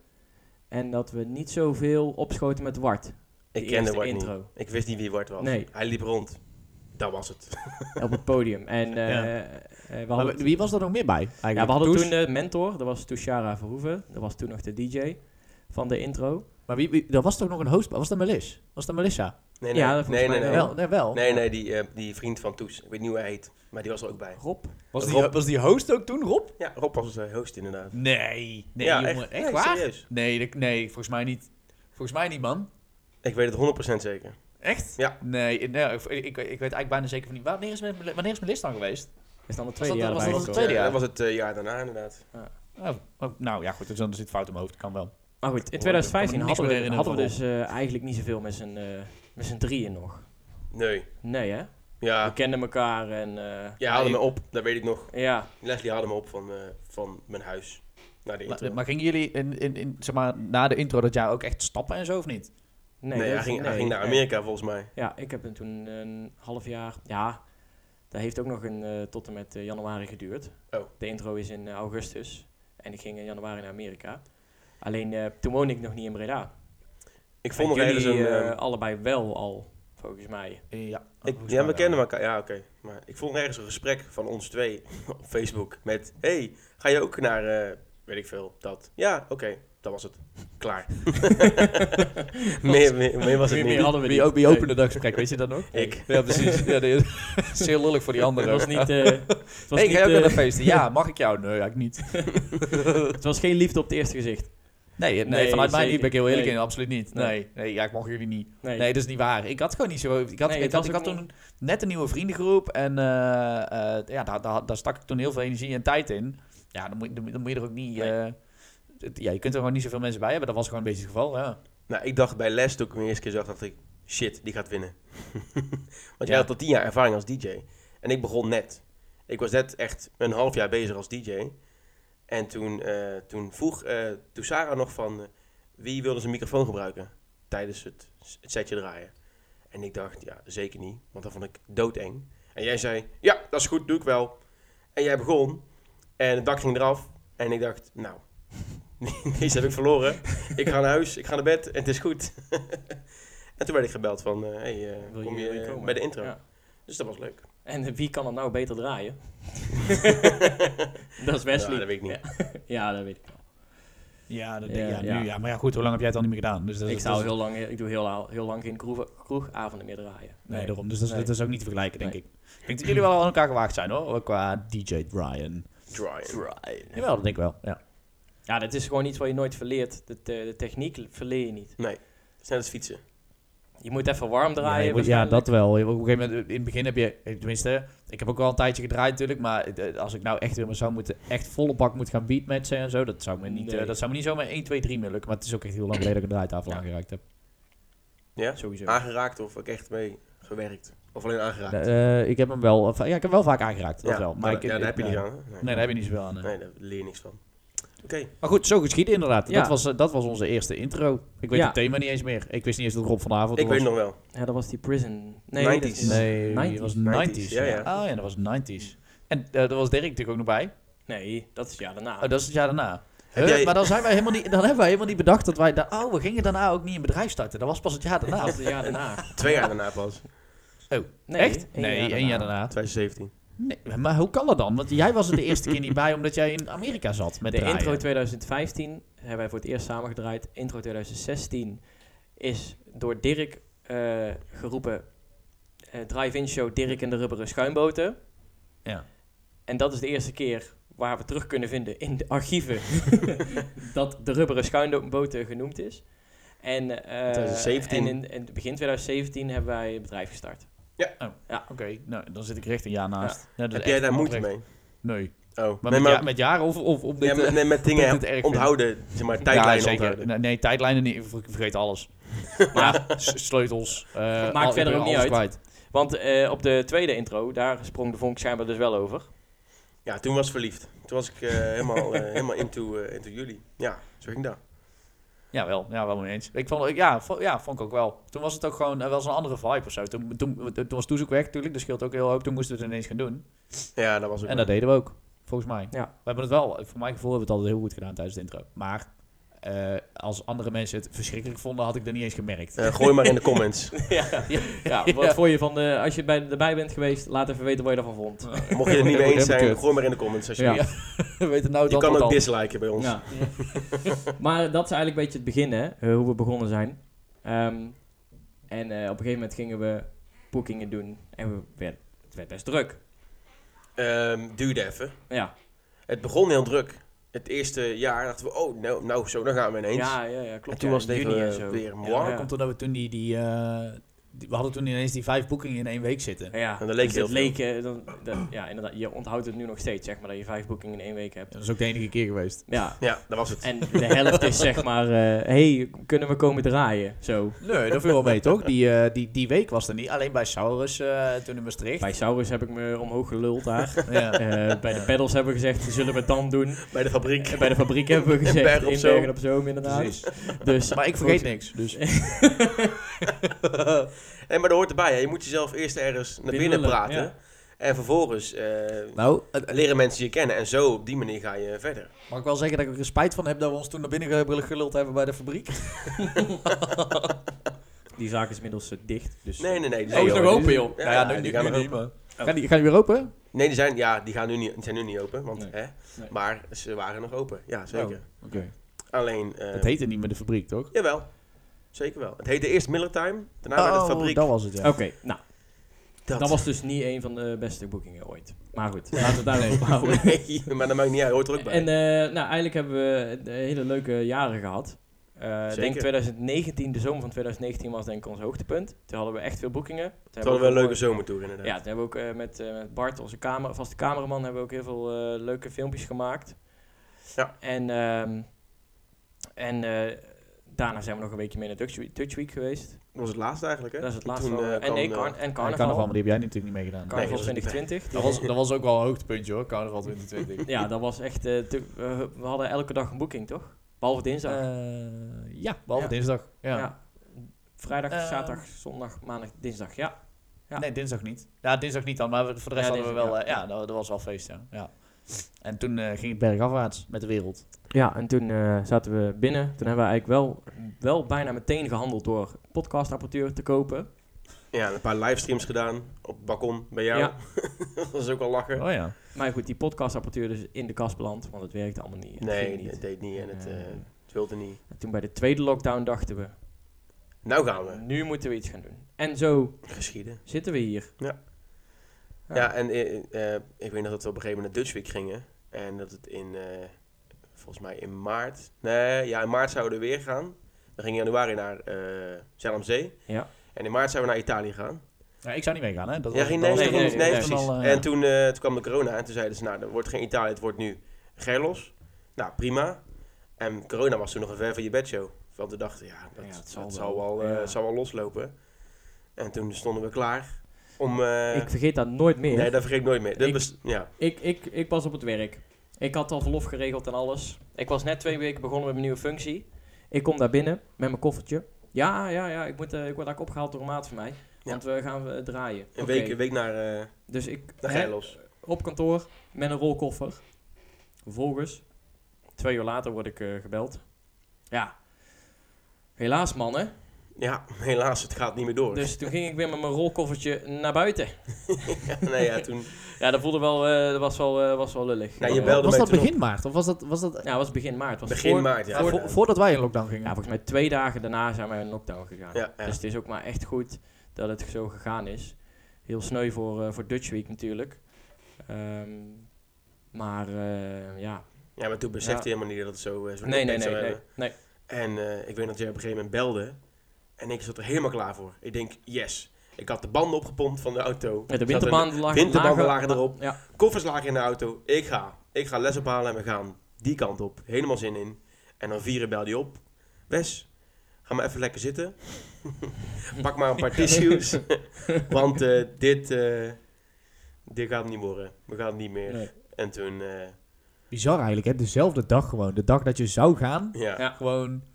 [SPEAKER 3] En dat we niet zoveel opschoten met Wart.
[SPEAKER 2] Ik
[SPEAKER 3] Die
[SPEAKER 2] kende
[SPEAKER 3] eerste
[SPEAKER 2] Wart
[SPEAKER 3] intro.
[SPEAKER 2] niet. Ik wist niet wie Wart was.
[SPEAKER 3] Nee.
[SPEAKER 2] Hij liep rond. Dat was het.
[SPEAKER 3] Op het podium. En eh,
[SPEAKER 1] Ja.
[SPEAKER 3] eh, we
[SPEAKER 1] Maar
[SPEAKER 3] hadden,
[SPEAKER 1] wie was er nog meer bij? Eigenlijk?
[SPEAKER 3] ja, we hadden
[SPEAKER 1] Toes?
[SPEAKER 3] toen eh, de mentor, dat was Tushara Verhoeven. Dat was toen nog de DJ van de intro.
[SPEAKER 1] Maar wie, wie, er was toch nog een host? Was dat Melis? Was dat Melissa?
[SPEAKER 2] Nee,
[SPEAKER 3] Ja,
[SPEAKER 2] nee,
[SPEAKER 3] dat
[SPEAKER 2] nee,
[SPEAKER 3] volgens
[SPEAKER 2] nee,
[SPEAKER 3] mij
[SPEAKER 2] nee.
[SPEAKER 1] Wel, nee, wel.
[SPEAKER 2] Nee, nee, die, eh, die vriend van Toes. Ik weet niet hoe hij heet. Maar die was er ook bij.
[SPEAKER 3] Rob.
[SPEAKER 1] Was, die,
[SPEAKER 2] Rob.
[SPEAKER 1] was die host ook toen, Rob?
[SPEAKER 2] Ja, Rob was de host inderdaad.
[SPEAKER 1] Nee. Nee,
[SPEAKER 2] ja,
[SPEAKER 1] jongen. Echt,
[SPEAKER 2] Nee,
[SPEAKER 1] waar?
[SPEAKER 2] serieus.
[SPEAKER 1] Nee, dat- nee, volgens mij niet. Volgens mij niet, man.
[SPEAKER 2] Ik weet het 100% zeker.
[SPEAKER 1] Echt?
[SPEAKER 2] Ja.
[SPEAKER 1] Nee, eh, nou, ik, ik, ik weet eigenlijk bijna zeker van niet. Wanneer is mijn, wanneer is mijn list dan geweest?
[SPEAKER 3] Is dan het tweede
[SPEAKER 1] dat-
[SPEAKER 3] jaar
[SPEAKER 1] was
[SPEAKER 3] erbij
[SPEAKER 1] dat
[SPEAKER 3] gekomen.
[SPEAKER 1] het tweede
[SPEAKER 2] Ja,
[SPEAKER 1] jaar.
[SPEAKER 2] dat was het eh, jaar daarna inderdaad.
[SPEAKER 1] Oh, oh, nou ja, goed, dus dan zit fout om mijn hoofd. Kan wel.
[SPEAKER 3] Maar goed, in
[SPEAKER 1] Ik kan me
[SPEAKER 3] 2015
[SPEAKER 1] niks
[SPEAKER 3] hadden
[SPEAKER 1] meer
[SPEAKER 3] we,
[SPEAKER 1] herinneren
[SPEAKER 3] hadden we
[SPEAKER 1] van
[SPEAKER 3] dus eh, eigenlijk niet zoveel met z'n eh, met z'n drieën nog.
[SPEAKER 2] Nee.
[SPEAKER 3] Nee hè? We
[SPEAKER 2] Ja,
[SPEAKER 3] kenden elkaar en... eh,
[SPEAKER 2] je haalde me op. Dat weet ik nog.
[SPEAKER 3] Ja,
[SPEAKER 2] Leslie haalde me op van, eh, van mijn huis. naar de
[SPEAKER 1] La-
[SPEAKER 2] intro.
[SPEAKER 1] Maar gingen jullie in, in, in, zeg maar, na de intro dat jaar ook echt stappen en zo of niet?
[SPEAKER 2] nee, hij,
[SPEAKER 3] dat-
[SPEAKER 2] ging, hij
[SPEAKER 3] nee,
[SPEAKER 2] ging naar
[SPEAKER 3] nee.
[SPEAKER 2] Amerika volgens mij.
[SPEAKER 3] Ja, ik heb hem toen een half jaar. Ja, dat heeft ook nog een, eh, tot en met eh, januari geduurd.
[SPEAKER 2] Oh.
[SPEAKER 3] De intro is in eh, augustus. En ik ging in januari naar Amerika. Alleen eh, toen woonde ik nog niet in Breda.
[SPEAKER 2] Ik vond
[SPEAKER 3] En
[SPEAKER 2] nog ergens een...
[SPEAKER 3] jullie, eh,
[SPEAKER 2] ehm,
[SPEAKER 3] allebei wel al, volgens mij.
[SPEAKER 1] Ja,
[SPEAKER 2] ik, ja, we kennen elkaar. Ja, oké. Maar ik vond ergens een gesprek van ons twee op Facebook met... hey, ga je ook naar... eh, weet ik veel, dat. Ja, oké. Dat was het. Klaar. meer, meer, meer was het
[SPEAKER 3] Meer-
[SPEAKER 2] niet.
[SPEAKER 3] meer hadden we
[SPEAKER 1] Wie,
[SPEAKER 3] niet.
[SPEAKER 1] ook, wie opende dat gesprek, weet je dat nog?
[SPEAKER 2] Ik.
[SPEAKER 1] Ja, precies. Ja, dat is heel lullig voor die
[SPEAKER 3] Het
[SPEAKER 1] anderen.
[SPEAKER 3] was
[SPEAKER 1] ook.
[SPEAKER 3] niet... eh, het, was
[SPEAKER 1] hey,
[SPEAKER 3] niet
[SPEAKER 1] ga je ook
[SPEAKER 3] eh,
[SPEAKER 1] naar de feesten? Ja, mag ik jou? Nee, eigenlijk niet.
[SPEAKER 3] het was geen liefde op het eerste gezicht.
[SPEAKER 1] Nee, nee,
[SPEAKER 3] Nee,
[SPEAKER 1] vanuit mij
[SPEAKER 3] zeker.
[SPEAKER 1] niet, ben ik heel eerlijk
[SPEAKER 3] Nee.
[SPEAKER 1] in, absoluut niet.
[SPEAKER 3] Nee.
[SPEAKER 1] Nee, nee ja, ik mag jullie niet.
[SPEAKER 3] Nee.
[SPEAKER 1] Nee, dat is niet waar. Ik had gewoon niet zo... Ik had,
[SPEAKER 3] Nee,
[SPEAKER 1] ik
[SPEAKER 3] het
[SPEAKER 1] had,
[SPEAKER 3] was
[SPEAKER 1] ik
[SPEAKER 3] ook
[SPEAKER 1] had toen net een nieuwe vriendengroep en eh, eh, ja, daar, daar, daar stak ik toen heel veel energie en tijd in. Ja, dan moet, dan, moet- dan moet je er ook niet...
[SPEAKER 3] Nee.
[SPEAKER 1] eh, het- ja, je kunt er gewoon niet zoveel mensen bij hebben. Dat was gewoon een beetje het geval, ja.
[SPEAKER 2] Nou, ik dacht bij Les toen ik hem de eerste keer zag dat ik... Shit, die gaat winnen. Want
[SPEAKER 1] Ja.
[SPEAKER 2] jij had al tien jaar ervaring als DJ. En ik begon net. Ik was net echt een half jaar bezig als DJ. En toen, eh, toen vroeg eh toen Sarah nog van... eh, wie wilde zijn microfoon gebruiken tijdens het, het setje draaien? En ik dacht, ja, zeker niet. Want dat vond ik doodeng. En jij zei, ja, dat is goed, doe ik wel. En jij begon. En het dak ging eraf. En ik dacht, nou, deze heb ik verloren. Ik ga naar huis, ik ga naar bed en het is goed. en toen werd ik gebeld van, eh, hey, eh,
[SPEAKER 3] Wil
[SPEAKER 2] kom je,
[SPEAKER 3] wil
[SPEAKER 2] eh,
[SPEAKER 3] komen?
[SPEAKER 2] bij de intro?
[SPEAKER 3] Ja.
[SPEAKER 2] Dus dat was leuk.
[SPEAKER 3] En eh, wie kan het nou beter draaien?
[SPEAKER 2] Wesley.
[SPEAKER 3] Dat is Wesley.
[SPEAKER 2] Nou, dat weet ik niet.
[SPEAKER 3] Ja, dat weet ik. wel.
[SPEAKER 1] Ja, dat,
[SPEAKER 3] Ja,
[SPEAKER 1] ja, nu,
[SPEAKER 3] ja.
[SPEAKER 1] ja. maar ja, goed, hoe lang heb jij het al niet meer gedaan? Dus dat, is-
[SPEAKER 3] Ik,
[SPEAKER 1] dat
[SPEAKER 3] zou
[SPEAKER 1] is-
[SPEAKER 3] heel lang, ik doe heel, la- heel lang geen kroeg, kroegavonden meer draaien.
[SPEAKER 1] Nee, daarom. Dus dat, is-
[SPEAKER 3] Nee.
[SPEAKER 1] dat is ook niet te vergelijken, denk
[SPEAKER 3] Nee.
[SPEAKER 1] ik. Ik denk dat jullie wel aan elkaar gewaagd zijn, hoor. Qua DJ Brian.
[SPEAKER 2] Dry.
[SPEAKER 1] Jawel, dat denk ik wel, ja.
[SPEAKER 3] Ja, dat is gewoon iets wat je nooit verleert. De, te- de techniek verleer je niet.
[SPEAKER 2] Snel als fietsen.
[SPEAKER 3] Je moet even warm
[SPEAKER 1] ja,
[SPEAKER 3] draaien.
[SPEAKER 1] je wordt- ja, dat
[SPEAKER 3] waarschijnlijk.
[SPEAKER 1] wel. Je wordt Op een gegeven moment, in het begin heb je... eh, Tenminste, ik heb ook wel een tijdje gedraaid natuurlijk. Maar eh, als ik nou echt weer maar zou moeten... Echt volle bak moet gaan beatmatchen en zo. Dat zou me niet, eh,
[SPEAKER 3] Nee.
[SPEAKER 1] dat zou me niet zomaar 1, 2, 3 meer lukken. Maar het is ook echt heel lang geleden dat ik een draaitafel
[SPEAKER 3] Ja.
[SPEAKER 1] aangeraakt heb.
[SPEAKER 2] Ja?
[SPEAKER 3] Sowieso.
[SPEAKER 2] Aangeraakt of ook echt mee gewerkt? Of alleen aangeraakt?
[SPEAKER 1] Eh, ik heb hem wel... ja, ik heb hem wel vaak aangeraakt. Dat
[SPEAKER 2] ja,
[SPEAKER 1] wel. Maar
[SPEAKER 2] maar
[SPEAKER 1] ik,
[SPEAKER 2] ja,
[SPEAKER 1] ik-
[SPEAKER 2] daar heb je
[SPEAKER 1] nee.
[SPEAKER 2] niet aan. hè?
[SPEAKER 1] Nee, daar heb je niet zoveel aan. eh.
[SPEAKER 2] Nee, daar leer je niks van. Oké.
[SPEAKER 1] Maar goed, zo geschieden inderdaad.
[SPEAKER 3] Ja.
[SPEAKER 1] Dat, was, eh, dat was onze eerste intro. Ik weet
[SPEAKER 3] Ja.
[SPEAKER 1] het thema niet eens meer. Ik wist niet eens dat Rob vanavond
[SPEAKER 2] Ik
[SPEAKER 1] was.
[SPEAKER 2] weet nog wel.
[SPEAKER 3] Ja, dat was die prison. Nee,
[SPEAKER 2] 90s.
[SPEAKER 3] dat is- Nee.
[SPEAKER 1] Nee,
[SPEAKER 3] 90s.
[SPEAKER 1] dat was 90s.
[SPEAKER 2] 90s,
[SPEAKER 1] ja,
[SPEAKER 2] ja, ja.
[SPEAKER 1] Ah ja, dat was 90s. En eh daar was Dirk natuurlijk ook nog bij.
[SPEAKER 3] dat is ja daarna.
[SPEAKER 1] Oh, dat is het jaar daarna.
[SPEAKER 2] Heb
[SPEAKER 1] Huh,
[SPEAKER 2] jij-
[SPEAKER 1] Maar dan, zijn wij helemaal niet, dan hebben wij helemaal niet bedacht dat wij... Da oh, we gingen daarna ook niet een bedrijf starten. Dat was pas het jaar daarna.
[SPEAKER 3] Dat is het jaar daarna.
[SPEAKER 2] Twee jaar daarna pas.
[SPEAKER 3] Nee,
[SPEAKER 1] Echt?
[SPEAKER 3] één
[SPEAKER 1] nee,
[SPEAKER 3] jaar
[SPEAKER 1] één jaar
[SPEAKER 3] daarna.
[SPEAKER 1] daarna.
[SPEAKER 2] 2017.
[SPEAKER 1] Nee, maar hoe kan dat dan? Want jij was er de eerste keer niet bij omdat jij in Amerika zat met
[SPEAKER 3] De
[SPEAKER 1] draaien.
[SPEAKER 3] intro 2015 hebben wij voor het eerst samengedraaid. Intro 2016 is door Dirk eh, geroepen eh, drive-in show Dirk en de rubberen schuimboten.
[SPEAKER 1] Ja.
[SPEAKER 3] En dat is de eerste keer waar we terug kunnen vinden in de archieven dat de rubberen schuimboten genoemd is. En, eh,
[SPEAKER 2] 2017.
[SPEAKER 3] en in, in begin 2017 hebben wij een bedrijf gestart.
[SPEAKER 1] Oké, nou, dan zit ik recht een jaar naast. Ja, dat is
[SPEAKER 2] Heb jij
[SPEAKER 1] echt
[SPEAKER 2] daar moeite
[SPEAKER 1] oprecht.
[SPEAKER 2] mee?
[SPEAKER 1] Nee.
[SPEAKER 2] Oh, nee,
[SPEAKER 1] Maar met,
[SPEAKER 2] maar,
[SPEAKER 1] ja- met jaren of, of op dit...
[SPEAKER 2] ja, met,
[SPEAKER 1] eh,
[SPEAKER 2] nee, met
[SPEAKER 1] dat ik het erg
[SPEAKER 2] dingen
[SPEAKER 1] vind.
[SPEAKER 2] onthouden. Zeg maar, tijdlijnen
[SPEAKER 1] ja, zeker.
[SPEAKER 2] onthouden.
[SPEAKER 1] Nee, nee, tijdlijnen niet. Ik vergeet alles. Maar s- sleutels. eh,
[SPEAKER 3] Maakt
[SPEAKER 1] al- ik
[SPEAKER 3] verder
[SPEAKER 1] ben
[SPEAKER 3] ook niet
[SPEAKER 1] alles
[SPEAKER 3] uit.
[SPEAKER 1] kwijt.
[SPEAKER 3] Want eh, op de tweede intro, daar sprong de vonk schijnbaar dus wel over.
[SPEAKER 2] Ja, toen was ik verliefd. Toen was ik eh, helemaal, eh, helemaal into, eh, into jullie. Ja, zo ging dat.
[SPEAKER 1] Ja, wel. Ja, wel mee eens. Ik vond, ik- ja, vond, ja, vond ik ook wel. Toen was het ook gewoon eh, wel eens een andere vibe of zo. Toen, toen, toen was Toezoek weg natuurlijk. Dat scheelt ook heel hoop. Toen moesten we het ineens gaan doen.
[SPEAKER 2] Ja, dat was ook
[SPEAKER 1] En
[SPEAKER 2] wel.
[SPEAKER 1] dat deden we ook. Volgens mij.
[SPEAKER 3] Ja.
[SPEAKER 1] We hebben het wel, voor mijn gevoel hebben we het altijd heel goed gedaan tijdens de intro. Maar eh, als andere mensen het verschrikkelijk vonden, had ik dat niet eens gemerkt.
[SPEAKER 2] Eh, gooi maar in de comments.
[SPEAKER 3] ja.
[SPEAKER 1] Ja.
[SPEAKER 3] ja, wat
[SPEAKER 1] Ja.
[SPEAKER 3] vond je van de... Als je bij, erbij bent geweest, laat even weten wat je daarvan vond.
[SPEAKER 2] Mocht je het niet mee eens zijn,
[SPEAKER 1] Kut.
[SPEAKER 2] gooi maar in de comments. alsjeblieft.
[SPEAKER 1] Ja. We weten nou
[SPEAKER 2] Je
[SPEAKER 1] dat
[SPEAKER 2] kan
[SPEAKER 1] het
[SPEAKER 2] ook
[SPEAKER 1] al.
[SPEAKER 2] disliken bij ons.
[SPEAKER 3] Ja. maar dat is eigenlijk een beetje het begin, hè. eh, Hoe we begonnen zijn. Ehm, en eh, op een gegeven moment gingen we boekingen doen. En we werd, het werd best druk.
[SPEAKER 2] Ehm, duurde even.
[SPEAKER 3] Ja,
[SPEAKER 2] Het begon heel druk. Het eerste jaar dachten we, oh, nou, nou zo, dan gaan we ineens.
[SPEAKER 3] ja, ja, ja klopt.
[SPEAKER 2] en toen
[SPEAKER 3] ja,
[SPEAKER 2] was het
[SPEAKER 3] in
[SPEAKER 2] even
[SPEAKER 3] juni en
[SPEAKER 2] eh,
[SPEAKER 3] zo.
[SPEAKER 2] weer
[SPEAKER 1] Ja,
[SPEAKER 2] moi.
[SPEAKER 1] dat komt omdat we toen die, die, eh, die- we hadden toen ineens die vijf boekingen in één week zitten.
[SPEAKER 3] Ja,
[SPEAKER 2] En dat leek
[SPEAKER 3] dus
[SPEAKER 2] heel
[SPEAKER 3] het leek, eh, dan, dat- ja, inderdaad. Je onthoudt het nu nog steeds, zeg maar, dat je vijf boekingen in één week hebt.
[SPEAKER 1] Dat is ook de enige keer geweest.
[SPEAKER 3] Ja,
[SPEAKER 2] Ja, dat was het.
[SPEAKER 3] en de helft is zeg maar, eh, hey, kunnen we komen draaien? Zo.
[SPEAKER 1] Nee, dat viel wel mee, toch? Die, eh, die, die week was er niet. Alleen bij Saurus eh, toen in Maastricht.
[SPEAKER 3] Bij Saurus heb ik me omhoog geluld daar.
[SPEAKER 1] Ja.
[SPEAKER 3] Eh, bij de pedals hebben we gezegd, zullen we het dan doen?
[SPEAKER 2] Bij de fabriek.
[SPEAKER 3] En bij de fabriek hebben we gezegd,
[SPEAKER 2] Bergen op
[SPEAKER 3] in
[SPEAKER 2] Zoom.
[SPEAKER 3] Bergen op Zoom inderdaad.
[SPEAKER 1] Precies.
[SPEAKER 3] Dus,
[SPEAKER 1] Maar ik vergeet niks. Dus.
[SPEAKER 2] en, maar dat hoort erbij. Hè. Je moet jezelf eerst ergens naar binnen,
[SPEAKER 3] Binnen lullen,
[SPEAKER 2] praten. En vervolgens eh,
[SPEAKER 1] Nou, het-
[SPEAKER 2] leren mensen je kennen. En zo, op die manier ga je verder.
[SPEAKER 1] mag ik wel zeggen dat ik er spijt van heb dat we ons toen naar binnen ge- geluld hebben bij de fabriek?
[SPEAKER 3] Die zaak is inmiddels eh, dicht. Dus,
[SPEAKER 2] Nee, nee, nee. die
[SPEAKER 1] Oh,
[SPEAKER 2] zijn
[SPEAKER 1] is
[SPEAKER 2] er
[SPEAKER 1] nog
[SPEAKER 2] ook.
[SPEAKER 1] open, joh.
[SPEAKER 2] Ja,
[SPEAKER 1] Nou
[SPEAKER 2] ja,
[SPEAKER 1] nu-
[SPEAKER 2] die
[SPEAKER 1] nu-
[SPEAKER 2] gaan
[SPEAKER 1] nu
[SPEAKER 2] nog
[SPEAKER 1] niet, maar- Gaan die, gaan die weer open?
[SPEAKER 2] Nee, die zijn, ja, die, gaan nu niet, die zijn nu niet open. Want,
[SPEAKER 3] Nee.
[SPEAKER 2] hè,
[SPEAKER 3] Nee. Oh,
[SPEAKER 2] Maar ze waren nog open. Ja, zeker.
[SPEAKER 1] Oké.
[SPEAKER 2] Alleen... eh,
[SPEAKER 1] Het heette niet meer de fabriek, toch?
[SPEAKER 2] Jawel. Zeker wel. Het heette eerst Miller Time. Daarna werd
[SPEAKER 1] Oh,
[SPEAKER 2] het Nou, fabriek.
[SPEAKER 1] dat was het, ja.
[SPEAKER 3] Oké, nou,
[SPEAKER 2] Dat-
[SPEAKER 3] dat was dus niet een van de beste boekingen ooit. Maar goed, laten we het daarop houden.
[SPEAKER 2] Nee, maar dat maakt niet uit. Hoort er ook bij.
[SPEAKER 3] En eh, nou, eigenlijk hebben we eh, hele leuke jaren gehad. Eh, Ik
[SPEAKER 2] Zeker.
[SPEAKER 3] denk 2019, de zomer van 2019 was denk ik ons hoogtepunt. Toen hadden we echt veel boekingen. Toen
[SPEAKER 2] het hadden
[SPEAKER 3] we
[SPEAKER 2] wel een
[SPEAKER 3] ook
[SPEAKER 2] leuke
[SPEAKER 3] mooi-
[SPEAKER 2] zomertour inderdaad.
[SPEAKER 3] Ja, toen hebben we ook eh, met, eh, met Bart, onze kamer, vaste cameraman, hebben we ook heel veel eh, leuke filmpjes gemaakt.
[SPEAKER 2] Ja.
[SPEAKER 3] En, ehm, en eh, daarna zijn we nog een weekje mee naar Dutch Week, Dutch Week geweest.
[SPEAKER 2] Dat was het laatste eigenlijk, hè?
[SPEAKER 3] Dat is het laatste.
[SPEAKER 2] Toen,
[SPEAKER 3] wel.
[SPEAKER 2] eh,
[SPEAKER 3] en,
[SPEAKER 2] kwam,
[SPEAKER 3] nee,
[SPEAKER 2] eh,
[SPEAKER 3] carna- en
[SPEAKER 1] Ja,
[SPEAKER 3] carnaval.
[SPEAKER 1] carnaval, maar die heb jij natuurlijk niet meegedaan.
[SPEAKER 2] Nee,
[SPEAKER 3] Carnaval
[SPEAKER 2] dat is het
[SPEAKER 3] 2020.
[SPEAKER 1] Dat was, dat was ook wel een hoogtepuntje hoor, carnaval 2020.
[SPEAKER 3] Ja, dat was echt... eh, te- we- we hadden elke dag een boeking, toch? Behalve dinsdag.
[SPEAKER 1] Eh, ja,
[SPEAKER 3] Ja.
[SPEAKER 1] behalve dinsdag. Ja.
[SPEAKER 3] Ja. Vrijdag,
[SPEAKER 1] Eh,
[SPEAKER 3] zaterdag, zondag, maandag, dinsdag. Ja. Ja.
[SPEAKER 1] Nee, dinsdag niet. Ja, dinsdag niet dan, maar we- voor de rest
[SPEAKER 3] Ja,
[SPEAKER 1] hadden we wel...
[SPEAKER 3] dinsdag,
[SPEAKER 1] eh, Ja, dat, dat was wel feest, ja. ja. En toen eh, ging het bergafwaarts met de wereld.
[SPEAKER 3] Ja, en toen eh, zaten we binnen. Toen hebben we eigenlijk wel, wel bijna meteen gehandeld door podcastapparatuur te kopen.
[SPEAKER 2] Ja, een paar livestreams gedaan op het balkon bij jou.
[SPEAKER 3] Ja.
[SPEAKER 2] dat was ook al lachen.
[SPEAKER 1] Oh ja.
[SPEAKER 3] Maar goed, die podcastapparatuur dus in de kast beland, want het werkte allemaal niet. Het
[SPEAKER 2] nee,
[SPEAKER 3] ging niet.
[SPEAKER 2] het deed niet en het,
[SPEAKER 3] Eh.
[SPEAKER 2] eh, het wilde niet.
[SPEAKER 3] En toen bij de tweede lockdown dachten we,
[SPEAKER 2] Nou gaan we.
[SPEAKER 3] nu moeten we iets gaan doen. En zo
[SPEAKER 2] Geschieden.
[SPEAKER 3] zitten we hier.
[SPEAKER 2] Ja.
[SPEAKER 3] Ja.
[SPEAKER 2] Ja, en eh, eh, ik weet nog dat we op een gegeven moment naar Dutch Week gingen. En dat het in, eh, volgens mij in maart. Nee, ja, in maart zouden we weer gaan. We gingen in januari naar eh Zellamzee.
[SPEAKER 3] Ja.
[SPEAKER 2] En in maart zouden we naar Italië gaan.
[SPEAKER 1] Ja, ik zou niet meegaan, hè? Dat
[SPEAKER 2] Ja,
[SPEAKER 1] was-
[SPEAKER 2] geen
[SPEAKER 1] dat
[SPEAKER 2] nee,
[SPEAKER 1] was
[SPEAKER 2] nee, nee,
[SPEAKER 1] toen- dat
[SPEAKER 2] nee,
[SPEAKER 1] was toen
[SPEAKER 2] precies.
[SPEAKER 1] al, eh,
[SPEAKER 2] En toen, eh, toen kwam de corona en toen zeiden ze, nou, er wordt geen Italië, het wordt nu Gerlos. Nou, prima. En corona was toen nog een ver van je bedshow. Want we dachten, ja,
[SPEAKER 3] Ja,
[SPEAKER 2] dat,
[SPEAKER 3] het
[SPEAKER 2] dat
[SPEAKER 3] zal
[SPEAKER 2] zal,
[SPEAKER 3] wel.
[SPEAKER 2] wel, eh,
[SPEAKER 3] Ja.
[SPEAKER 2] het zal wel loslopen. En toen stonden we klaar om... eh,
[SPEAKER 3] ik vergeet dat nooit meer.
[SPEAKER 2] nee, dat vergeet ik nooit meer. Dat
[SPEAKER 3] Ik-
[SPEAKER 2] was- ja,
[SPEAKER 3] Ik, ik, ik was op het werk. Ik had al verlof geregeld en alles. Ik was net twee weken begonnen met mijn nieuwe functie. Ik kom daar binnen met mijn koffertje. Ja, ja, ja, ik, moet, eh, ik word eigenlijk opgehaald door een maat van mij. Want we gaan eh, draaien.
[SPEAKER 2] een,
[SPEAKER 3] Oké,
[SPEAKER 2] week, een week naar, eh
[SPEAKER 3] Dus ik
[SPEAKER 2] naar
[SPEAKER 3] hè,
[SPEAKER 2] Gerlos.
[SPEAKER 3] op kantoor met een rolkoffer. Vervolgens, twee uur later word ik eh, gebeld. Ja, helaas mannen.
[SPEAKER 2] Ja, helaas, het gaat niet meer door.
[SPEAKER 3] Dus toen ging ik weer met mijn rolkoffertje naar buiten.
[SPEAKER 2] Ja, nee, ja, toen...
[SPEAKER 3] Ja, dat voelde wel, eh, dat was wel, eh, was wel lullig.
[SPEAKER 2] Nou, je
[SPEAKER 3] Ja,
[SPEAKER 2] belde
[SPEAKER 1] Was
[SPEAKER 2] mij
[SPEAKER 1] dat
[SPEAKER 2] toen op.
[SPEAKER 1] begin maart? Of was dat... Was dat
[SPEAKER 3] Ja, het was begin maart. Het was
[SPEAKER 2] Begin
[SPEAKER 3] voor-
[SPEAKER 2] maart, ja.
[SPEAKER 1] vo- voordat wij in lockdown gingen?
[SPEAKER 3] Ja, volgens mij twee dagen daarna zijn we in lockdown gegaan.
[SPEAKER 2] Ja, ja.
[SPEAKER 3] Dus het is ook maar echt goed dat het zo gegaan is. Heel sneu voor, eh, voor Dutch Week natuurlijk. Ehm, maar eh, ja.
[SPEAKER 2] ja, maar toen besefte
[SPEAKER 3] Ja.
[SPEAKER 2] je helemaal niet dat het zo... eh, zo
[SPEAKER 3] Nee, nee,
[SPEAKER 2] impact
[SPEAKER 3] nee,
[SPEAKER 2] zou
[SPEAKER 3] nee,
[SPEAKER 2] hebben.
[SPEAKER 3] nee.
[SPEAKER 2] En eh, ik weet dat jij op een gegeven moment belde. En ik zat er helemaal klaar voor. Ik denk, yes. Ik had de banden opgepompt van de auto.
[SPEAKER 3] Ja, De
[SPEAKER 2] Ik zat in
[SPEAKER 3] winterbanden lagen,
[SPEAKER 2] winterbanden lagen erop.
[SPEAKER 3] Ja,
[SPEAKER 2] de- Koffers lagen in de auto. Ik ga. Ik ga les ophalen en we gaan die kant op. Helemaal zin in. En dan vieren belde je op. Wes, ga maar even lekker zitten. Pak maar een paar tissues. Want eh, dit, eh, dit gaat hem niet worden. We gaan het niet meer.
[SPEAKER 3] nee.
[SPEAKER 2] En toen, eh,
[SPEAKER 1] Bizar eigenlijk, hè? Dezelfde dag gewoon. De dag dat je zou gaan,
[SPEAKER 2] ja.
[SPEAKER 3] Ja.
[SPEAKER 1] gewoon...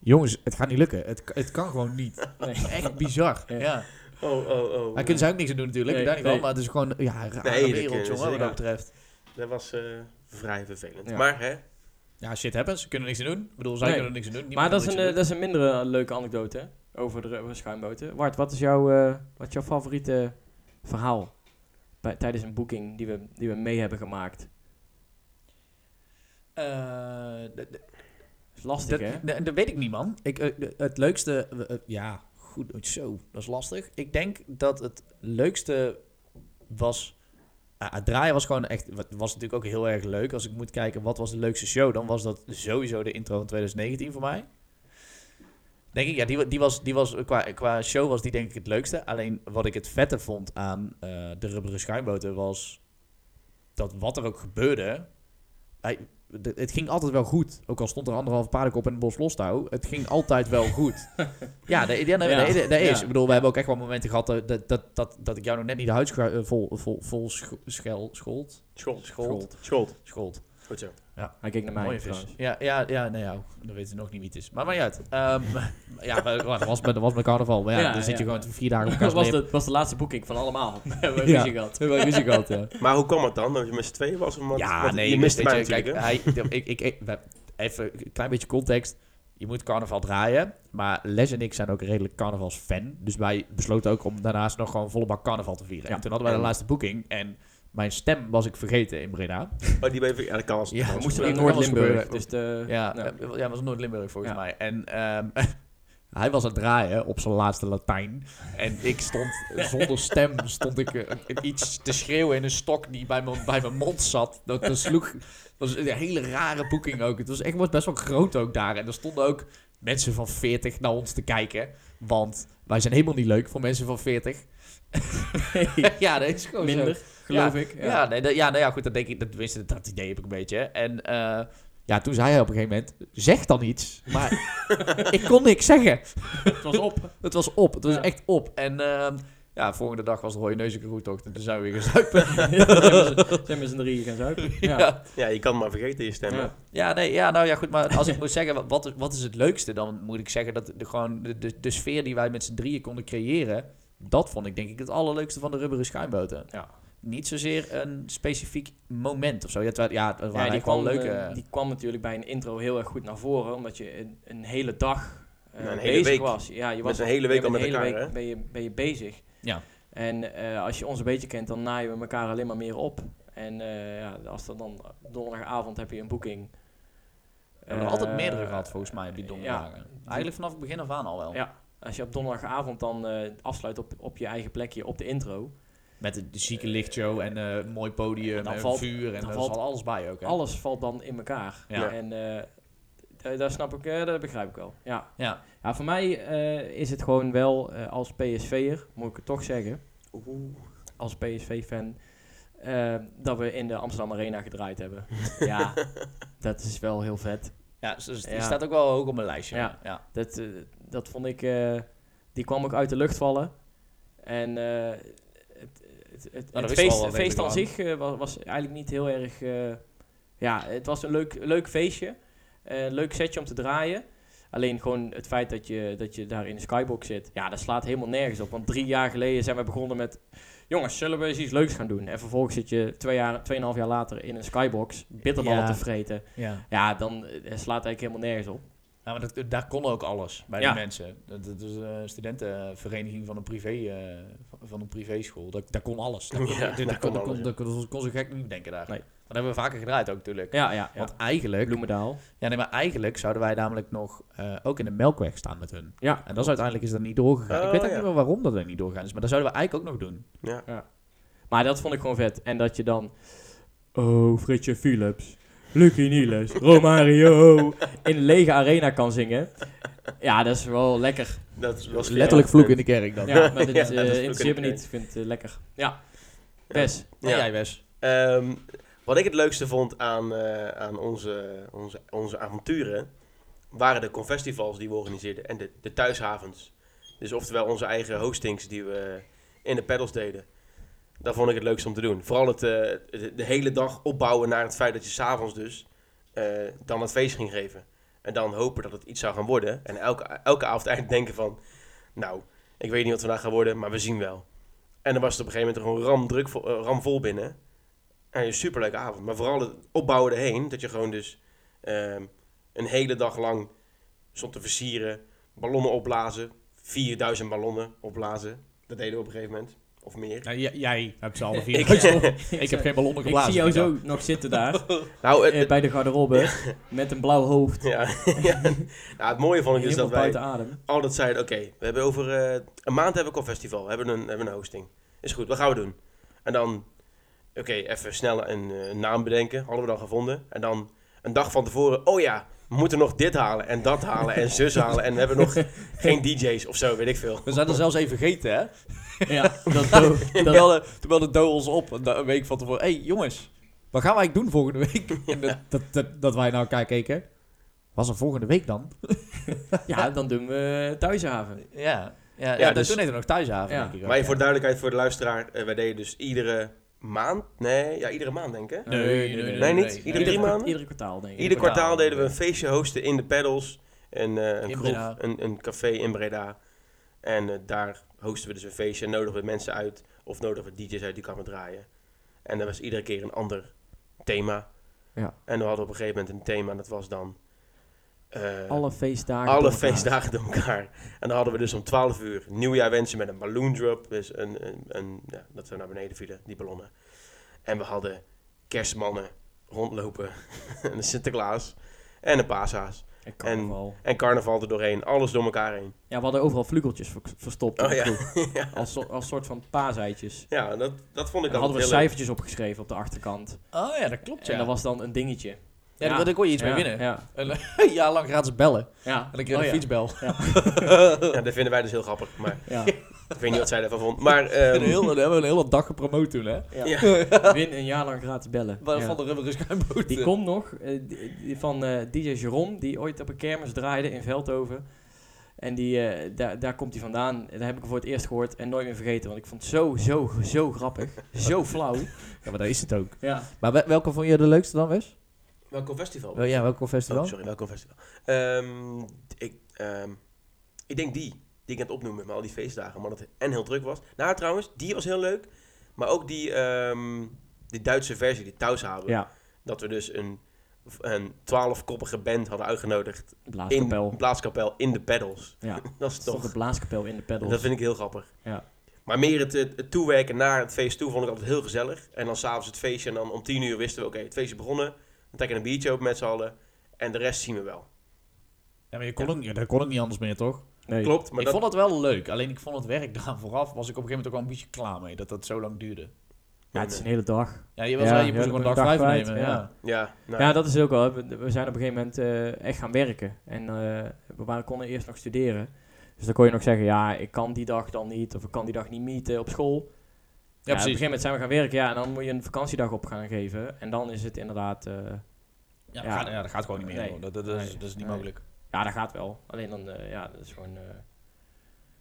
[SPEAKER 1] Jongens, het gaat niet lukken. Het, het kan gewoon niet.
[SPEAKER 3] Nee.
[SPEAKER 1] Echt bizar.
[SPEAKER 3] Ja.
[SPEAKER 1] ja.
[SPEAKER 2] Oh, oh, oh.
[SPEAKER 1] Hij kunt zijn ook niks aan doen natuurlijk,
[SPEAKER 3] Nee,
[SPEAKER 1] daar niet
[SPEAKER 3] nee.
[SPEAKER 1] van, maar het is gewoon ja, een rare
[SPEAKER 2] Nee, dat
[SPEAKER 1] wereld,
[SPEAKER 2] kunnen ze,
[SPEAKER 1] jongen, wat
[SPEAKER 2] ja.
[SPEAKER 1] dat betreft.
[SPEAKER 2] Dat was eh, vrij vervelend.
[SPEAKER 3] Ja.
[SPEAKER 2] Maar hè,
[SPEAKER 1] Ja, shit happens, ze kunnen niks aan doen. Ik bedoel, zij
[SPEAKER 3] Nee.
[SPEAKER 1] kunnen er niks aan doen.
[SPEAKER 3] Maar
[SPEAKER 1] niemand
[SPEAKER 3] dat is,
[SPEAKER 1] kan
[SPEAKER 3] een,
[SPEAKER 1] er
[SPEAKER 3] eh,
[SPEAKER 1] niks
[SPEAKER 3] dat is een minder eh, leuke anekdote hè, over de, over de schuimboten. Wart, wat is jouw, eh, wat is jouw favoriete verhaal bij, tijdens een boeking die we, die we mee hebben gemaakt?
[SPEAKER 1] aan doen. Eh, d- d-
[SPEAKER 3] is lastig,
[SPEAKER 1] dat-
[SPEAKER 3] hè?
[SPEAKER 1] d- Dat weet ik niet, man. Ik, eh, d- het leukste... eh, eh, ja, goed, zo, dat is lastig. Ik denk dat het leukste was... ah, het draaien was gewoon echt... Het was natuurlijk ook heel erg leuk. Als ik moet kijken wat was de leukste show, dan was dat sowieso de intro van 2019 voor mij. Denk ik, ja, die, wa- die was, die was qua, qua show was die denk ik het leukste. Alleen wat ik het vette vond aan eh, de rubberen schuimboten was dat wat er ook gebeurde, hij, de- het ging altijd wel goed. Ook al stond er anderhalf paardenkop en een bos lostouw, het ging altijd wel goed. ja, dat ja, nee,
[SPEAKER 3] Ja.
[SPEAKER 1] nee, nee, nee, is.
[SPEAKER 3] Ja.
[SPEAKER 1] Ik bedoel, we hebben ook echt wel momenten gehad dat, dat, dat, dat, dat ik jou nog net niet de huid schu- eh, vol, vol, vol scho- schel, schold,
[SPEAKER 2] Scholt.
[SPEAKER 1] schold,
[SPEAKER 2] Scholt.
[SPEAKER 1] schold.
[SPEAKER 2] Goed zo.
[SPEAKER 3] Hij keek naar mij
[SPEAKER 1] Mooie vis.
[SPEAKER 3] trouwens.
[SPEAKER 1] Ja, ja, ja, nou ja, dan weten ze nog niet wie het is. Maar maar niet uit. Ehm, ja, maar, dat was, met- dat was met carnaval. Maar ja,
[SPEAKER 3] Ja,
[SPEAKER 1] dan zit je
[SPEAKER 3] ja.
[SPEAKER 1] gewoon vier dagen op elkaar
[SPEAKER 3] Dat was
[SPEAKER 1] te
[SPEAKER 3] de, was de laatste boeking van allemaal. We hebben
[SPEAKER 1] Ja.
[SPEAKER 3] ruzie gehad. We hebben ruzie gehad, ja.
[SPEAKER 2] Maar hoe kwam het dan? Dat je met z'n tweeën was? Omdat,
[SPEAKER 1] Ja,
[SPEAKER 2] want
[SPEAKER 1] nee,
[SPEAKER 2] je
[SPEAKER 1] je
[SPEAKER 2] miste
[SPEAKER 1] weet
[SPEAKER 2] mij
[SPEAKER 1] je,
[SPEAKER 2] natuurlijk,
[SPEAKER 1] kijk,
[SPEAKER 2] hè?
[SPEAKER 1] hij, ik, ik, ik, we- even een klein beetje context. Je moet carnaval draaien, maar Les en ik zijn ook redelijk carnavalsfan. Dus wij besloten ook om daarnaast nog gewoon volle bak carnaval te vieren.
[SPEAKER 3] Ja.
[SPEAKER 1] En toen hadden wij de
[SPEAKER 2] En-
[SPEAKER 1] laatste boeking en mijn stem was ik vergeten in Breda.
[SPEAKER 2] Oh, die ben je... Ja, dat kan als
[SPEAKER 1] Ja,
[SPEAKER 3] We
[SPEAKER 2] als-
[SPEAKER 3] moesten
[SPEAKER 1] dat
[SPEAKER 3] naar
[SPEAKER 1] kan alles
[SPEAKER 3] Noord-Limburg.
[SPEAKER 1] gebeuren.
[SPEAKER 3] Dus de,
[SPEAKER 1] Ja,
[SPEAKER 3] nou,
[SPEAKER 1] eh, ja, dat was Noord-Limburg volgens
[SPEAKER 3] Ja.
[SPEAKER 1] mij. En ehm, hij was aan het draaien op zijn laatste Latijn. En ik stond zonder stem stond ik eh, iets te schreeuwen in een stok die bij mijn, bij mijn mond zat. Dat, dat sloeg. Dat was een hele rare boeking ook. Het was echt was best wel groot ook daar. En er stonden ook mensen van 40 naar ons te kijken. Want wij zijn helemaal niet leuk voor mensen van 40. ja, dat is gewoon Oh, zo.
[SPEAKER 3] minder, geloof ik.
[SPEAKER 1] Ja, nee, dat, ja, nou ja, goed, dat denk ik, dat, tenminste, dat idee heb ik een beetje. En eh, ja, toen zei hij op een gegeven moment, zeg dan iets. Maar ik kon niks zeggen.
[SPEAKER 3] Het was op.
[SPEAKER 1] Het was op, het was
[SPEAKER 3] Ja.
[SPEAKER 1] echt op. En ehm, ja, volgende dag was de rode neuzengeroetocht en toen zijn we weer gaan zuipen.
[SPEAKER 3] Zijn we z'n drieën gaan zuipen. Ja.
[SPEAKER 1] ja. Ja.
[SPEAKER 2] Ja, je kan maar vergeten je stemmen.
[SPEAKER 3] Ja.
[SPEAKER 1] nee, ja, nou ja, goed, maar als ik moet zeggen, wat- wat is, wat is het leukste? Dan moet ik zeggen dat de, gewoon de, de, de sfeer die wij met z'n drieën konden creëren, dat vond ik denk ik het allerleukste van de rubberen schuimboten.
[SPEAKER 3] Ja.
[SPEAKER 1] Niet zozeer een specifiek moment of zo. Ja, het, wa- ja, het waren
[SPEAKER 3] Ja, die,
[SPEAKER 1] eigenlijk wel
[SPEAKER 3] kwam,
[SPEAKER 1] leuke...
[SPEAKER 3] eh, die kwam natuurlijk bij een intro heel erg goed naar voren, omdat je een, een hele dag eh,
[SPEAKER 2] Ja, een hele
[SPEAKER 3] bezig
[SPEAKER 2] week.
[SPEAKER 3] was. Ja, je was
[SPEAKER 2] een hele week
[SPEAKER 3] je
[SPEAKER 2] al
[SPEAKER 3] bent
[SPEAKER 2] met
[SPEAKER 3] een hele
[SPEAKER 2] elkaar,
[SPEAKER 3] week
[SPEAKER 2] hè?
[SPEAKER 3] Ben je, ben je bezig.
[SPEAKER 1] Ja.
[SPEAKER 3] En eh, als je ons een beetje kent, dan naaien we elkaar alleen maar meer op. En eh, ja, als dat dan donderdagavond heb je een boeking. Eh,
[SPEAKER 1] We hebben er altijd meerdere gehad, volgens mij, op die donderdagen.
[SPEAKER 3] ja.
[SPEAKER 1] Eigenlijk vanaf het begin af aan al wel.
[SPEAKER 3] Ja. Als je op donderdagavond dan eh, afsluit op, op je eigen plekje op de intro,
[SPEAKER 1] Met de, de zieke lichtshow en eh, een mooi podium
[SPEAKER 3] En dan
[SPEAKER 1] en
[SPEAKER 3] valt-
[SPEAKER 1] vuur. En
[SPEAKER 3] dan
[SPEAKER 1] daar
[SPEAKER 3] valt
[SPEAKER 1] valt alles bij ook. Hè?
[SPEAKER 3] alles valt dan in elkaar.
[SPEAKER 1] Ja.
[SPEAKER 3] En eh, d- daar snap ik, eh, dat begrijp ik wel. Ja.
[SPEAKER 1] Ja.
[SPEAKER 3] Ja, voor mij eh, is het gewoon wel eh, als PSV'er, moet ik het toch zeggen,
[SPEAKER 2] Oeh.
[SPEAKER 3] als PSV-fan, eh, dat we in de Amsterdam Arena gedraaid hebben. ja, dat is wel heel vet.
[SPEAKER 1] ja, dus, dus die
[SPEAKER 3] Ja.
[SPEAKER 1] staat ook wel hoog op mijn lijstje.
[SPEAKER 3] Ja.
[SPEAKER 1] Ja.
[SPEAKER 3] Dat, eh, dat vond ik, eh, die kwam ook uit de lucht vallen. En eh, het, het, het,
[SPEAKER 1] dat
[SPEAKER 3] het
[SPEAKER 1] is wel
[SPEAKER 3] feest,
[SPEAKER 1] wat
[SPEAKER 3] het feest aan
[SPEAKER 1] redelijk
[SPEAKER 3] zich eh, was, was eigenlijk niet heel erg... eh, ja, het was een leuk, leuk feestje, eh, een leuk setje om te draaien. Alleen gewoon het feit dat je, dat je daar in de skybox zit, ja, dat slaat helemaal nergens op. Want drie jaar geleden zijn we begonnen met... Jongens, zullen we eens iets leuks gaan doen? En vervolgens zit je twee jaar, tweeënhalf jaar later in een skybox bitterballen
[SPEAKER 1] Ja.
[SPEAKER 3] te vreten. Ja, dan eh, slaat eigenlijk helemaal nergens op.
[SPEAKER 1] Nou, maar dat, daar kon ook alles bij
[SPEAKER 3] Ja.
[SPEAKER 1] die mensen. Dat, dat is een studentenvereniging van een, privé, eh, van- van een privéschool. Dat, daar kon alles. Daar kon,
[SPEAKER 2] Ja,
[SPEAKER 1] dat- dat
[SPEAKER 2] daar
[SPEAKER 1] kon,
[SPEAKER 2] kon
[SPEAKER 1] dat kon-
[SPEAKER 2] alles,
[SPEAKER 1] dat kon, dat kon zo gek niet denken daar.
[SPEAKER 3] Nee.
[SPEAKER 1] Maar dat hebben we vaker gedraaid ook natuurlijk.
[SPEAKER 3] Ja, ja, ja.
[SPEAKER 1] Want eigenlijk,
[SPEAKER 3] Bloemendaal.
[SPEAKER 1] ja, nee, maar eigenlijk zouden wij namelijk nog eh, ook in de melkweg staan met hun.
[SPEAKER 3] Ja.
[SPEAKER 1] En dat is uiteindelijk is dat niet doorgegaan.
[SPEAKER 2] Oh,
[SPEAKER 1] ik weet ook
[SPEAKER 2] ja.
[SPEAKER 1] niet meer waarom dat er niet doorgegaan is, maar dat zouden we eigenlijk ook nog doen.
[SPEAKER 2] Ja.
[SPEAKER 3] Maar dat vond ik gewoon vet. En dat je dan... Oh, Fritje Philips. Lucky Niels. Romario. In een lege arena kan zingen. Ja, dat is wel lekker.
[SPEAKER 2] Dat was
[SPEAKER 1] Letterlijk vloek in de kerk dan.
[SPEAKER 3] Ja, maar dit
[SPEAKER 2] Ja,
[SPEAKER 3] is, eh,
[SPEAKER 2] dat is ook
[SPEAKER 3] interesseert me
[SPEAKER 2] een-
[SPEAKER 3] niet. Ik vind het eh, lekker. Ja. Best.
[SPEAKER 1] Ja.
[SPEAKER 2] Ja.
[SPEAKER 1] jij Wes.
[SPEAKER 2] Ehm, wat ik het leukste vond aan, eh, aan onze, onze, onze avonturen, waren de confestivals die we organiseerden en de, de thuishavens. Dus oftewel onze eigen hostings die we in de paddles deden. Dat vond ik het leukst om te doen. Vooral het, eh, de, de hele dag opbouwen naar het feit dat je s'avonds dus eh, dan het feest ging geven. En dan hopen dat het iets zou gaan worden. En elke, elke avond eigenlijk denken van, nou, ik weet niet wat het vandaag gaat worden, maar we zien wel. En dan was het op een gegeven moment gewoon ramdruk, vo- eh, ramvol binnen. Ja, een superleuke avond. Maar vooral het opbouwen erheen. Dat je gewoon dus ehm, een hele dag lang stond te versieren. Ballonnen opblazen. 4000 ballonnen opblazen. Dat deden we op een gegeven moment. Of meer.
[SPEAKER 1] jij hebt ze alle
[SPEAKER 2] vier. Ik-
[SPEAKER 1] vier. ik,
[SPEAKER 3] Ik
[SPEAKER 1] heb
[SPEAKER 3] zie-
[SPEAKER 1] geen ballonnen
[SPEAKER 3] Ik
[SPEAKER 1] geblazen.
[SPEAKER 3] zie jou zo nog zitten daar.
[SPEAKER 2] Nou, het,
[SPEAKER 3] eh, bij de garderobe. Met een blauw hoofd.
[SPEAKER 2] ja, ja. nou, het mooie vond ik dus
[SPEAKER 3] Helemaal
[SPEAKER 2] dat wij
[SPEAKER 3] buiten adem.
[SPEAKER 2] altijd zeiden... Oké, we hebben over eh, een maand hebben we een festival. We hebben een, hebben een hosting. Is goed, wat gaan we doen? En dan... Oké, even snel een eh, naam bedenken. Hadden we dan gevonden. En dan een dag van tevoren... Oh ja, we moeten nog dit halen en dat halen en zus halen. En we hebben nog geen DJ's of zo, weet ik veel.
[SPEAKER 1] We zijn er zelfs even vergeten, hè?
[SPEAKER 3] Ja, dat, dat,
[SPEAKER 1] Toen belde, toen belde Do ons op een, da- een week van tevoren. Hé, hey, jongens, wat gaan wij eigenlijk doen volgende week? En dat, dat, dat, dat wij naar elkaar keken. Was er volgende week dan?
[SPEAKER 3] ja, dan doen we thuishaven.
[SPEAKER 1] Ja, ja, ja,
[SPEAKER 2] Ja,
[SPEAKER 1] dat-
[SPEAKER 2] dus-
[SPEAKER 1] toen deden we nog thuishaven,
[SPEAKER 3] Ja.
[SPEAKER 1] denk ik ook,
[SPEAKER 2] Maar
[SPEAKER 1] ja.
[SPEAKER 2] voor duidelijkheid voor de luisteraar, eh, wij deden dus iedere maand, nee, ja, iedere maand denk ik. hè?
[SPEAKER 1] Nee, nee, nee, nee,
[SPEAKER 2] Nee, niet?
[SPEAKER 1] nee.
[SPEAKER 2] Iedere drie maanden?
[SPEAKER 3] Eh, Iedere kwartaal, denk ik.
[SPEAKER 2] Ieder
[SPEAKER 1] kwartaal.
[SPEAKER 2] kwartaal deden we een feestje hosten in de pedals. Een, eh, een,
[SPEAKER 1] In
[SPEAKER 2] kroeg,
[SPEAKER 1] Breda.
[SPEAKER 2] een, een café in Breda. En eh, daar hosten we dus een feestje en nodigen we mensen uit. Of nodigen we DJ's uit die kwamen draaien. En dat was iedere keer een ander thema.
[SPEAKER 3] Ja.
[SPEAKER 2] En we hadden op een gegeven moment een thema en dat was dan... eh,
[SPEAKER 3] alle feestdagen.
[SPEAKER 2] alle
[SPEAKER 3] door elkaar.
[SPEAKER 2] feestdagen door elkaar. En dan hadden we dus om 12 uur nieuwjaar wensen met een balloon drop. Dus een, een, een- ja, dat we naar beneden vielen, die ballonnen. En we hadden kerstmannen rondlopen. en een Sinterklaas. En een paashaas.
[SPEAKER 3] En carnaval.
[SPEAKER 2] En carnaval er doorheen. Alles door elkaar heen.
[SPEAKER 3] Ja, we hadden overal vleugeltjes ver- verstopt. in
[SPEAKER 2] Oh
[SPEAKER 3] de
[SPEAKER 2] ja.
[SPEAKER 3] kroeg.
[SPEAKER 2] ja.
[SPEAKER 3] Als, so- als soort van paaseitjes.
[SPEAKER 2] Ja, dat, dat vond ik
[SPEAKER 3] Daar
[SPEAKER 2] dan
[SPEAKER 3] hadden we
[SPEAKER 2] heel leuk.
[SPEAKER 3] cijfertjes opgeschreven op de achterkant.
[SPEAKER 1] Oh ja, dat klopt, ja.
[SPEAKER 3] En dat was dan een dingetje.
[SPEAKER 1] ja, daar-
[SPEAKER 3] Ja.
[SPEAKER 1] daar kon je iets
[SPEAKER 3] ja,
[SPEAKER 1] mee winnen.
[SPEAKER 3] Ja.
[SPEAKER 1] Een jaar lang gratis bellen.
[SPEAKER 3] ja.
[SPEAKER 1] En ik kreeg
[SPEAKER 3] Oh
[SPEAKER 1] een
[SPEAKER 3] ja.
[SPEAKER 1] fietsbel.
[SPEAKER 2] Ja, dat vinden wij dus heel grappig. Maar
[SPEAKER 3] Ja.
[SPEAKER 2] ik weet niet wat zij daarvan vond. Maar
[SPEAKER 1] Een
[SPEAKER 2] ehm,
[SPEAKER 1] heel, daar hebben we een hele dag gepromoot toen, hè?
[SPEAKER 3] Win een jaar lang gratis bellen.
[SPEAKER 1] Van
[SPEAKER 3] Ja.
[SPEAKER 1] van de rubberen schuimboot.
[SPEAKER 3] Die komt nog, eh, die- die van eh, DJ Jerome, die ooit op een kermis draaide in Veldhoven. En die, eh, daar, daar komt hij vandaan. Daar heb ik hem voor het eerst gehoord en nooit meer vergeten. Want ik vond het zo, zo, zo grappig. zo flauw.
[SPEAKER 1] Ja, maar dat is het ook.
[SPEAKER 3] Ja.
[SPEAKER 1] Maar wel- welke vond je de leukste dan, Wes?
[SPEAKER 2] welk festival?
[SPEAKER 1] Wel, ja, welke festival?
[SPEAKER 2] Oh, sorry, welkom festival. Ehm, ik, ehm, ik denk die, die ik net opnoemen, maar al die feestdagen, maar dat het en heel druk was. Nou, trouwens, die was heel leuk, maar ook die, ehm, die Duitse versie, die Thuishaven.
[SPEAKER 3] Ja,
[SPEAKER 2] Dat we dus een, een twaalfkoppige band hadden uitgenodigd in
[SPEAKER 3] blaaskapel.
[SPEAKER 2] de plaatskapel in de pedals.
[SPEAKER 3] Ja,
[SPEAKER 2] Dat is
[SPEAKER 3] stond
[SPEAKER 2] toch,
[SPEAKER 3] de blaaskapel in de pedals.
[SPEAKER 2] dat vind ik heel grappig.
[SPEAKER 3] Ja.
[SPEAKER 2] Maar meer het, het, het toewerken naar het feest toe vond ik altijd heel gezellig. En dan s'avonds het feestje en dan om tien uur wisten we, oké, het feestje begonnen. We trekken een biertje op met z'n allen en de rest zien we wel.
[SPEAKER 1] Ja, maar je kon ook, dat kon ook niet anders meer, toch?
[SPEAKER 3] Nee.
[SPEAKER 2] Klopt, maar
[SPEAKER 1] ik
[SPEAKER 2] dat,
[SPEAKER 1] vond het wel leuk. Alleen ik vond het werk daar vooraf, was ik op een gegeven moment ook wel een beetje klaar mee. Dat dat zo lang duurde.
[SPEAKER 3] Ja, het is een hele dag.
[SPEAKER 1] Ja, je, was,
[SPEAKER 3] Ja,
[SPEAKER 1] ja, je
[SPEAKER 3] ja,
[SPEAKER 1] moest ook
[SPEAKER 3] dan ben
[SPEAKER 1] een dag
[SPEAKER 3] je dag
[SPEAKER 1] vrij
[SPEAKER 3] kwijt,
[SPEAKER 1] nemen. Ja.
[SPEAKER 3] ja.
[SPEAKER 2] Ja, nou,
[SPEAKER 3] Ja, dat is ook wel. We, we zijn op een gegeven moment eh, echt gaan werken. En eh, we waren, konden eerst nog studeren. Dus dan kon je nog zeggen, ja, ik kan die dag dan niet. Of ik kan die dag niet meeten op school. Ja,
[SPEAKER 1] Ja,
[SPEAKER 3] op een
[SPEAKER 1] precies.
[SPEAKER 3] gegeven moment zijn we gaan werken, ja, en dan moet je een vakantiedag op gaan geven. En dan is het inderdaad, eh,
[SPEAKER 1] Ja,
[SPEAKER 3] Ja.
[SPEAKER 1] dat gaat- ja, dat gaat gewoon niet meer.
[SPEAKER 3] Nee.
[SPEAKER 1] hoor. Dat, dat, dat is,
[SPEAKER 3] Nee.
[SPEAKER 1] dat is niet
[SPEAKER 3] Nee.
[SPEAKER 1] mogelijk.
[SPEAKER 3] ja, dat gaat wel. Alleen dan, eh, ja, dat is gewoon, eh,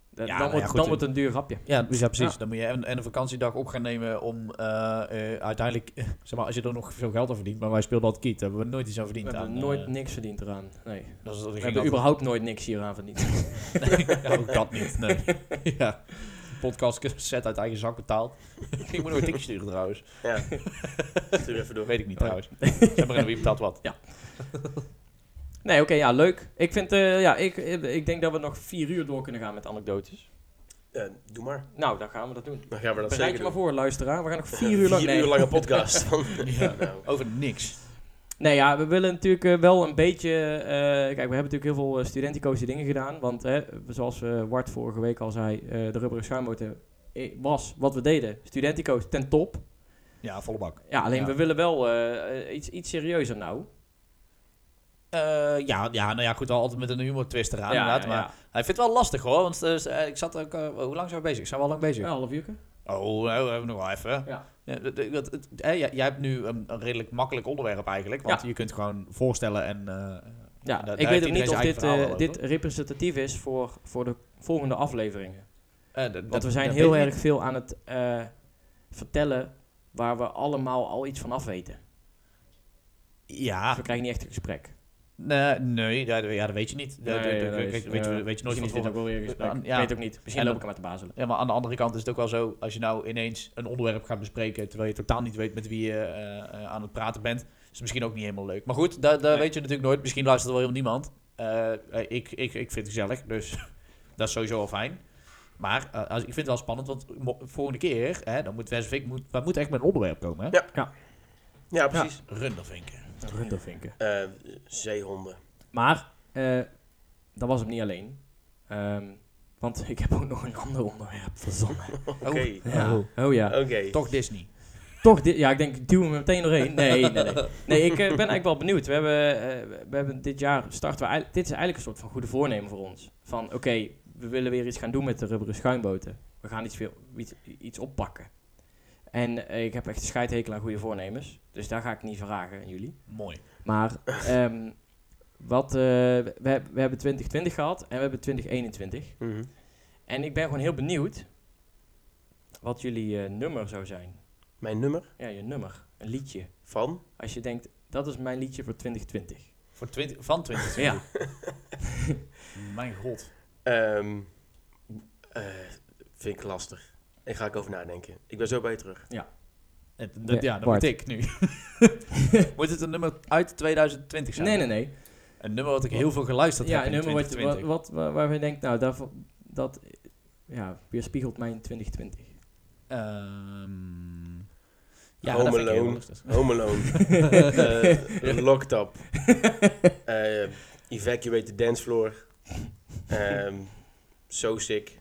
[SPEAKER 3] dat-
[SPEAKER 1] Ja,
[SPEAKER 3] dan,
[SPEAKER 1] nou ja,
[SPEAKER 3] wordt,
[SPEAKER 1] goed,
[SPEAKER 3] dan
[SPEAKER 1] eh.
[SPEAKER 3] wordt het een duur grapje.
[SPEAKER 1] Ja, dus ja precies.
[SPEAKER 3] Ja.
[SPEAKER 1] Dan moet je en, en een vakantiedag op gaan nemen om eh, eh, uiteindelijk, zeg maar, als je er nog veel geld aan verdient. Maar wij speelden altijd kiet, daar hebben we nooit iets aan
[SPEAKER 3] We
[SPEAKER 1] verdiend.
[SPEAKER 3] hebben
[SPEAKER 1] aan,
[SPEAKER 3] nooit
[SPEAKER 1] eh,
[SPEAKER 3] niks verdiend eraan, nee. We
[SPEAKER 1] dat is, dat ging
[SPEAKER 3] hebben
[SPEAKER 1] altijd-
[SPEAKER 3] überhaupt nooit niks hieraan verdiend.
[SPEAKER 1] ja, ook dat niet, nee. ja. Podcast set uit eigen zak betaald. ik moet nog een tikje sturen trouwens.
[SPEAKER 2] ja. Stuur even door.
[SPEAKER 1] Weet ik
[SPEAKER 3] Oh.
[SPEAKER 1] niet trouwens. Zeg maar in wie betaalt wat.
[SPEAKER 3] nee, oké, ja, leuk. Ik vind, eh, ja, ik, ik ik denk dat we nog vier uur door kunnen gaan met anekdotes.
[SPEAKER 2] Eh, doe maar.
[SPEAKER 3] Nou, dan gaan we dat doen.
[SPEAKER 2] Dan gaan we dat
[SPEAKER 3] Bereid
[SPEAKER 2] zeker
[SPEAKER 3] je maar
[SPEAKER 2] doen.
[SPEAKER 3] voor, luisteraar. We gaan nog vier uur lang...
[SPEAKER 2] Vier
[SPEAKER 3] nee.
[SPEAKER 2] uur lange podcast. Van,
[SPEAKER 1] Ja.
[SPEAKER 2] nou,
[SPEAKER 1] Over niks.
[SPEAKER 3] Nee, ja, we willen natuurlijk eh, wel een beetje... eh, kijk, we hebben natuurlijk heel veel eh, studenticoze dingen gedaan. Want hè, zoals eh Wart vorige week al zei, eh, de rubberen schuimboten eh, was wat we deden. Studentico's ten top.
[SPEAKER 1] Ja, volle bak.
[SPEAKER 3] Ja, alleen
[SPEAKER 1] Ja.
[SPEAKER 3] we willen wel eh, eh, iets, iets serieuzer nou.
[SPEAKER 1] Eh, ja, ja, nou ja, goed, wel altijd met een humor twist eraan
[SPEAKER 3] ja,
[SPEAKER 1] inderdaad.
[SPEAKER 3] ja,
[SPEAKER 1] Maar
[SPEAKER 3] ja.
[SPEAKER 1] hij vindt het wel lastig hoor, want eh, ik zat ook, eh, hoe lang zijn we bezig? Zijn we al lang bezig?
[SPEAKER 3] Een half uurke.
[SPEAKER 1] Oh, nou, we hebben nog wel even.
[SPEAKER 3] Ja.
[SPEAKER 1] Ja, dat- dat- dat- het- hè, jij, jij hebt nu een, een redelijk makkelijk onderwerp eigenlijk, want je kunt gewoon voorstellen en... eh,
[SPEAKER 3] Ja,
[SPEAKER 1] en daar-
[SPEAKER 3] ik
[SPEAKER 1] daar heeft
[SPEAKER 3] weet ook
[SPEAKER 1] iedereen
[SPEAKER 3] niet of
[SPEAKER 1] zijn eigen
[SPEAKER 3] dit,
[SPEAKER 1] verhaal
[SPEAKER 3] eh,
[SPEAKER 1] wel
[SPEAKER 3] dit
[SPEAKER 1] over.
[SPEAKER 3] representatief is voor, voor de volgende afleveringen.
[SPEAKER 1] Eh, dat- dat-
[SPEAKER 3] Want we zijn
[SPEAKER 1] dat
[SPEAKER 3] heel
[SPEAKER 1] weet ik
[SPEAKER 3] erg veel aan het eh, vertellen waar we allemaal al iets van af weten.
[SPEAKER 1] niet. Ja,
[SPEAKER 3] Dus we krijgen niet echt een gesprek. eh,
[SPEAKER 1] Nee, nee dat, ja, dat weet je niet. Dat- dat- dat- kijk, weet, je, weet je nooit van
[SPEAKER 3] Misschien is dit
[SPEAKER 1] tevoren.
[SPEAKER 3] ook wel weer een gesprek.
[SPEAKER 1] Ja.
[SPEAKER 3] Ik weet het ook niet. Misschien
[SPEAKER 1] En
[SPEAKER 3] loop ik hem uit de bazelen.
[SPEAKER 1] Ja, maar aan de andere kant is het ook wel zo, als je nou ineens een onderwerp gaat bespreken, terwijl je totaal niet weet met wie je eh, eh, aan het praten bent, is het misschien ook niet helemaal leuk. Maar goed, dat, dat
[SPEAKER 3] Nee.
[SPEAKER 1] weet je natuurlijk nooit. Misschien luistert er wel helemaal niemand. Eh, eh, ik, ik, ik vind het gezellig, dus dat is sowieso al fijn. Maar eh, als, ik vind het wel spannend, want mo- volgende keer, hè, dan moet Wes of ik, moet, wij moeten echt met een onderwerp komen. Hè?
[SPEAKER 2] Ja. ja, precies.
[SPEAKER 1] Rundervinken.
[SPEAKER 3] Rundervinken.
[SPEAKER 2] Eh, zeehonden.
[SPEAKER 3] Maar, eh, dat was hem niet alleen. Ehm, want Oh. ik heb ook nog een ander onderwerp verzonnen.
[SPEAKER 2] Oké.
[SPEAKER 3] Ja. Oh ja.
[SPEAKER 2] Oké.
[SPEAKER 1] Toch Disney.
[SPEAKER 3] toch dit, ja, ik denk, duw hem er meteen doorheen. Nee, nee, nee. Nee, ik eh, ben eigenlijk wel benieuwd. We hebben, eh, we hebben dit jaar starten we eigenlijk, dit is eigenlijk een soort van goede voornemen voor ons. Van, oké, we willen weer iets gaan doen met de rubberen schuimboten. We gaan iets, veel, iets, iets oppakken. En eh, ik heb echt een scheidhekel aan goede voornemens. Dus daar ga ik niet vragen aan jullie.
[SPEAKER 1] Mooi.
[SPEAKER 3] Maar ehm, wat, eh, we, we hebben 2020 gehad en we hebben 2021.
[SPEAKER 2] Mhm.
[SPEAKER 3] En ik ben gewoon heel benieuwd wat jullie eh, nummer zou zijn.
[SPEAKER 2] Mijn nummer
[SPEAKER 3] Ja, je nummer. Een liedje.
[SPEAKER 2] van
[SPEAKER 3] Als je denkt, dat is mijn liedje voor 2020.
[SPEAKER 1] Voor 20, van 20.
[SPEAKER 3] Ja.
[SPEAKER 1] Mijn god.
[SPEAKER 2] Ehm, eh, vind ik lastig. En ga ik over nadenken. Ik ben zo bij je terug.
[SPEAKER 1] Het- dat-
[SPEAKER 3] Ja,
[SPEAKER 1] ja, dat
[SPEAKER 3] Bart.
[SPEAKER 1] moet ik nu. moet het een nummer uit 2020 zijn?
[SPEAKER 3] Nee, nee, nee.
[SPEAKER 1] Een nummer wat ik heel veel geluisterd
[SPEAKER 3] ja,
[SPEAKER 1] heb
[SPEAKER 3] een
[SPEAKER 1] in
[SPEAKER 3] nummer wat, wat,
[SPEAKER 1] 2020.
[SPEAKER 3] wat, waar- waarvan je denkt, nou, dat, dat ja, weerspiegelt mijn 2020.
[SPEAKER 1] Ehm,
[SPEAKER 2] Home
[SPEAKER 1] dat vind ik heel
[SPEAKER 2] Alone.
[SPEAKER 1] lastig.
[SPEAKER 2] Home Alone. Eh, locked Up. Eh, evacuate the Dance Floor. Ehm, so Sick.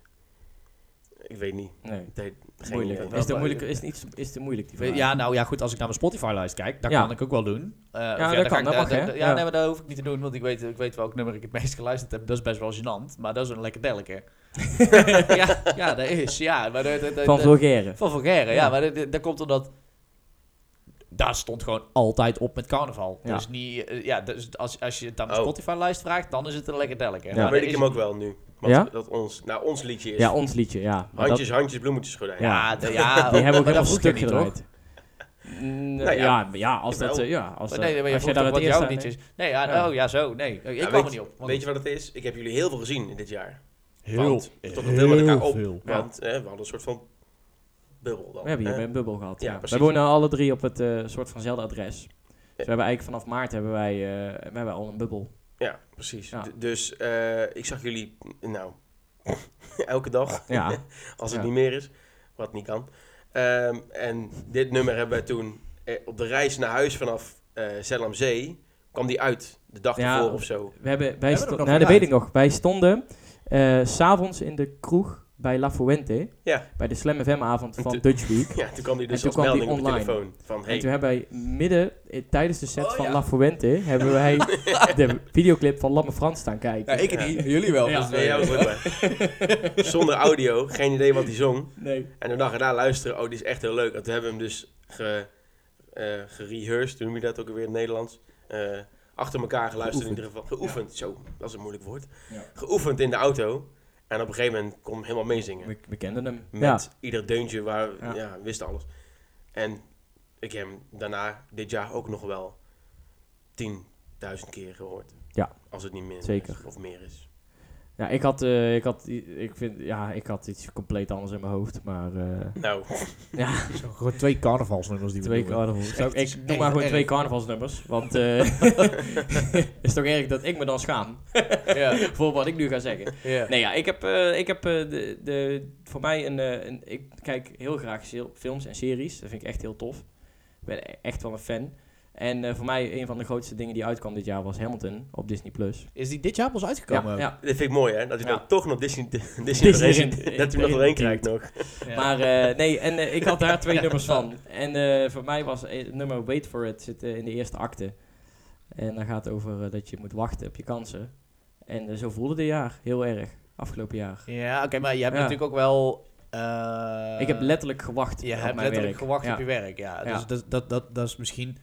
[SPEAKER 2] Ik weet niet.
[SPEAKER 3] Nee,
[SPEAKER 2] Het heet- geen
[SPEAKER 3] moeilijk.
[SPEAKER 2] idee.
[SPEAKER 3] Is het moeilijk, is het niet, zo- is het moeilijk die vraag?
[SPEAKER 1] eh, Ja, nou ja, goed, als ik naar mijn Spotify-lijst kijk, dat
[SPEAKER 3] Ja.
[SPEAKER 1] kan ik ook wel doen. Eh, of
[SPEAKER 3] dat
[SPEAKER 1] dan
[SPEAKER 3] kan,
[SPEAKER 1] ga ik-
[SPEAKER 3] dat
[SPEAKER 1] da-
[SPEAKER 3] mag,
[SPEAKER 1] da-
[SPEAKER 3] hè?
[SPEAKER 1] da-
[SPEAKER 3] Ja.
[SPEAKER 1] Ja, nee, maar dat hoef ik niet te doen, want ik weet, ik weet welk nummer ik het meest geluisterd heb. Dat is best wel gênant, maar dat is een lekker delke. ja, ja, dat is, ja. Maar dat, dat- dat-
[SPEAKER 3] Van
[SPEAKER 1] dat-
[SPEAKER 3] Vulgaire.
[SPEAKER 1] van Vulgaire, ja.
[SPEAKER 3] Ja.
[SPEAKER 1] Maar dat- dat, dat komt omdat... Daar stond gewoon altijd op met carnaval.
[SPEAKER 3] Ja.
[SPEAKER 1] Dus, niet, eh, ja, dus als, als je het aan mijn
[SPEAKER 2] Oh.
[SPEAKER 1] Spotify-lijst vraagt, dan is het een lekker delke.
[SPEAKER 3] Ja.
[SPEAKER 2] Dan
[SPEAKER 1] Maar
[SPEAKER 2] weet
[SPEAKER 1] dat
[SPEAKER 2] ik
[SPEAKER 1] is-
[SPEAKER 2] hem ook wel nu. Want
[SPEAKER 3] Ja?
[SPEAKER 2] dat ons, nou, ons liedje is
[SPEAKER 3] Ja, ons liedje, ja. Maar dat-
[SPEAKER 2] Handjes, handjes, bloemetjes, gordijn.
[SPEAKER 3] Ja.
[SPEAKER 1] Ja, de- ja,
[SPEAKER 3] die hebben ook
[SPEAKER 1] maar
[SPEAKER 3] helemaal
[SPEAKER 1] dat vroeg je
[SPEAKER 3] stuk
[SPEAKER 1] niet, hoor.
[SPEAKER 3] gedraaid. Mm,
[SPEAKER 2] Nou ja,
[SPEAKER 3] ja, ja, als dat...
[SPEAKER 2] jawel.
[SPEAKER 3] eh, Ja, als,
[SPEAKER 1] Maar
[SPEAKER 3] dat-
[SPEAKER 1] nee, nee, maar
[SPEAKER 3] als
[SPEAKER 1] je vroeg
[SPEAKER 3] jij daar het
[SPEAKER 1] toch wat
[SPEAKER 3] eerst
[SPEAKER 1] jouw
[SPEAKER 3] aan denkt.
[SPEAKER 1] liedjes... Nee, ja,
[SPEAKER 3] Ja.
[SPEAKER 1] oh ja, zo. Nee, ik
[SPEAKER 2] Ja,
[SPEAKER 1] kwam er
[SPEAKER 2] weet-
[SPEAKER 1] niet op. want-
[SPEAKER 2] Weet je wat het is? Ik heb jullie heel veel gezien in dit jaar.
[SPEAKER 1] Heel,
[SPEAKER 2] Want we stonden
[SPEAKER 1] heel
[SPEAKER 2] veel met elkaar op.
[SPEAKER 1] veel.
[SPEAKER 3] Ja.
[SPEAKER 2] Want eh, we hadden een soort van bubbel dan.
[SPEAKER 3] We hebben hier
[SPEAKER 2] hè?
[SPEAKER 3] een bubbel gehad.
[SPEAKER 2] Ja,
[SPEAKER 3] Ja, we
[SPEAKER 2] precies.
[SPEAKER 3] wonen alle drie op het eh, soort vanzelfde adres. Dus we hebben eigenlijk vanaf maart hebben wij, eh, we hebben al een bubbel.
[SPEAKER 2] Ja, precies.
[SPEAKER 3] Ja.
[SPEAKER 2] D- Dus eh, ik zag jullie, nou, elke dag,
[SPEAKER 3] Ja,
[SPEAKER 2] als het
[SPEAKER 3] Ja.
[SPEAKER 2] niet meer is, wat niet kan. Ehm, en dit nummer hebben we toen eh, op de reis naar huis vanaf eh Zellamzee, kwam die uit, de dag
[SPEAKER 3] Ja,
[SPEAKER 2] ervoor
[SPEAKER 3] of-
[SPEAKER 2] of zo.
[SPEAKER 3] we hebben, wij
[SPEAKER 1] Hebben we
[SPEAKER 3] sto-
[SPEAKER 1] er nog
[SPEAKER 3] nou, dat
[SPEAKER 1] uit?
[SPEAKER 3] weet ik nog. Wij stonden eh, s s'avonds in de kroeg bij La Fuente.
[SPEAKER 2] Ja.
[SPEAKER 3] Bij de Slam FM avond van
[SPEAKER 2] toen-
[SPEAKER 3] Dutch Week.
[SPEAKER 2] Ja, toen kwam die dus
[SPEAKER 3] toen
[SPEAKER 2] als
[SPEAKER 3] kwam die
[SPEAKER 2] melding op de
[SPEAKER 3] online.
[SPEAKER 2] telefoon. Van,
[SPEAKER 3] En
[SPEAKER 2] hey,
[SPEAKER 3] toen hebben wij midden, eh, tijdens de set
[SPEAKER 1] Oh,
[SPEAKER 3] van
[SPEAKER 1] ja.
[SPEAKER 3] La Fuente, hebben wij de videoclip van Lamme Frans staan kijken.
[SPEAKER 1] Ja, ik niet, jullie wel.
[SPEAKER 3] Ja.
[SPEAKER 1] dus,
[SPEAKER 2] nee, jij was er ook bij. Zonder audio, geen idee wat hij zong.
[SPEAKER 3] Nee.
[SPEAKER 2] En de dag erna luisteren, oh, die is echt heel leuk. Want we hebben hem dus ge, eh gerehearsed, hoe noem je dat ook weer in het Nederlands? Eh, achter elkaar geluisterd in ieder geval. Geoefend, zo, dat is een moeilijk woord.
[SPEAKER 3] Ja.
[SPEAKER 2] Geoefend in de auto. En op een gegeven moment kon hem helemaal meezingen.
[SPEAKER 3] We, we kenden hem.
[SPEAKER 2] Met
[SPEAKER 3] Ja.
[SPEAKER 2] ieder deuntje, waar,
[SPEAKER 3] Ja.
[SPEAKER 2] ja. wist alles. En ik heb hem daarna, dit jaar, ook nog wel 10.000 keer gehoord.
[SPEAKER 3] Ja.
[SPEAKER 2] Als het niet meer
[SPEAKER 3] Zeker.
[SPEAKER 2] is, of meer is.
[SPEAKER 3] Ja, ik had, eh, ik, had, i- ik, vind, ja, ik had iets compleet anders in mijn hoofd, maar... eh,
[SPEAKER 2] Nou,
[SPEAKER 3] ja,
[SPEAKER 1] Gewoon twee carnavalsnummers die
[SPEAKER 3] twee carnavals. eh, Zou ik-
[SPEAKER 1] echt-
[SPEAKER 3] ik noem
[SPEAKER 1] echt
[SPEAKER 3] maar gewoon
[SPEAKER 1] erg.
[SPEAKER 3] twee carnavalsnummers, want het is toch erg dat ik me dan schaam
[SPEAKER 1] Ja,
[SPEAKER 3] voor wat ik nu ga zeggen.
[SPEAKER 1] ja.
[SPEAKER 3] Nee ja, ik heb, eh, ik heb eh, de, de, voor mij een, eh, een... Ik kijk heel graag sil- films en series, dat vind ik echt heel tof. Ik ben e- echt wel een fan. En eh, voor mij een van de grootste dingen die uitkwam dit jaar was Hamilton op Disney+. Plus.
[SPEAKER 1] Is die dit jaar pas uitgekomen? ook?
[SPEAKER 2] dit vind ik mooi, hè? Dat hij
[SPEAKER 3] Ja.
[SPEAKER 2] dan toch nog Disney... Disney,
[SPEAKER 3] in-
[SPEAKER 2] dat hij hem nog
[SPEAKER 3] in-
[SPEAKER 2] één krijgt nog.
[SPEAKER 1] Ja.
[SPEAKER 3] Maar eh, nee, en eh, ik had daar twee nummers van. En eh, voor mij was eh, het nummer Wait For It zit eh, in de eerste acte. En dat gaat over eh, dat je moet wachten op je kansen. En eh, zo voelde dit jaar heel erg, afgelopen jaar.
[SPEAKER 1] ja, oké, maar je hebt
[SPEAKER 3] Ja.
[SPEAKER 1] natuurlijk ook wel... eh,
[SPEAKER 3] ik heb letterlijk gewacht
[SPEAKER 1] Je
[SPEAKER 3] op
[SPEAKER 1] hebt
[SPEAKER 3] mijn
[SPEAKER 1] letterlijk
[SPEAKER 3] werk.
[SPEAKER 1] gewacht
[SPEAKER 3] Ja.
[SPEAKER 1] op je werk, ja.
[SPEAKER 3] Ja.
[SPEAKER 1] Dus dat, dat, dat, dat is misschien...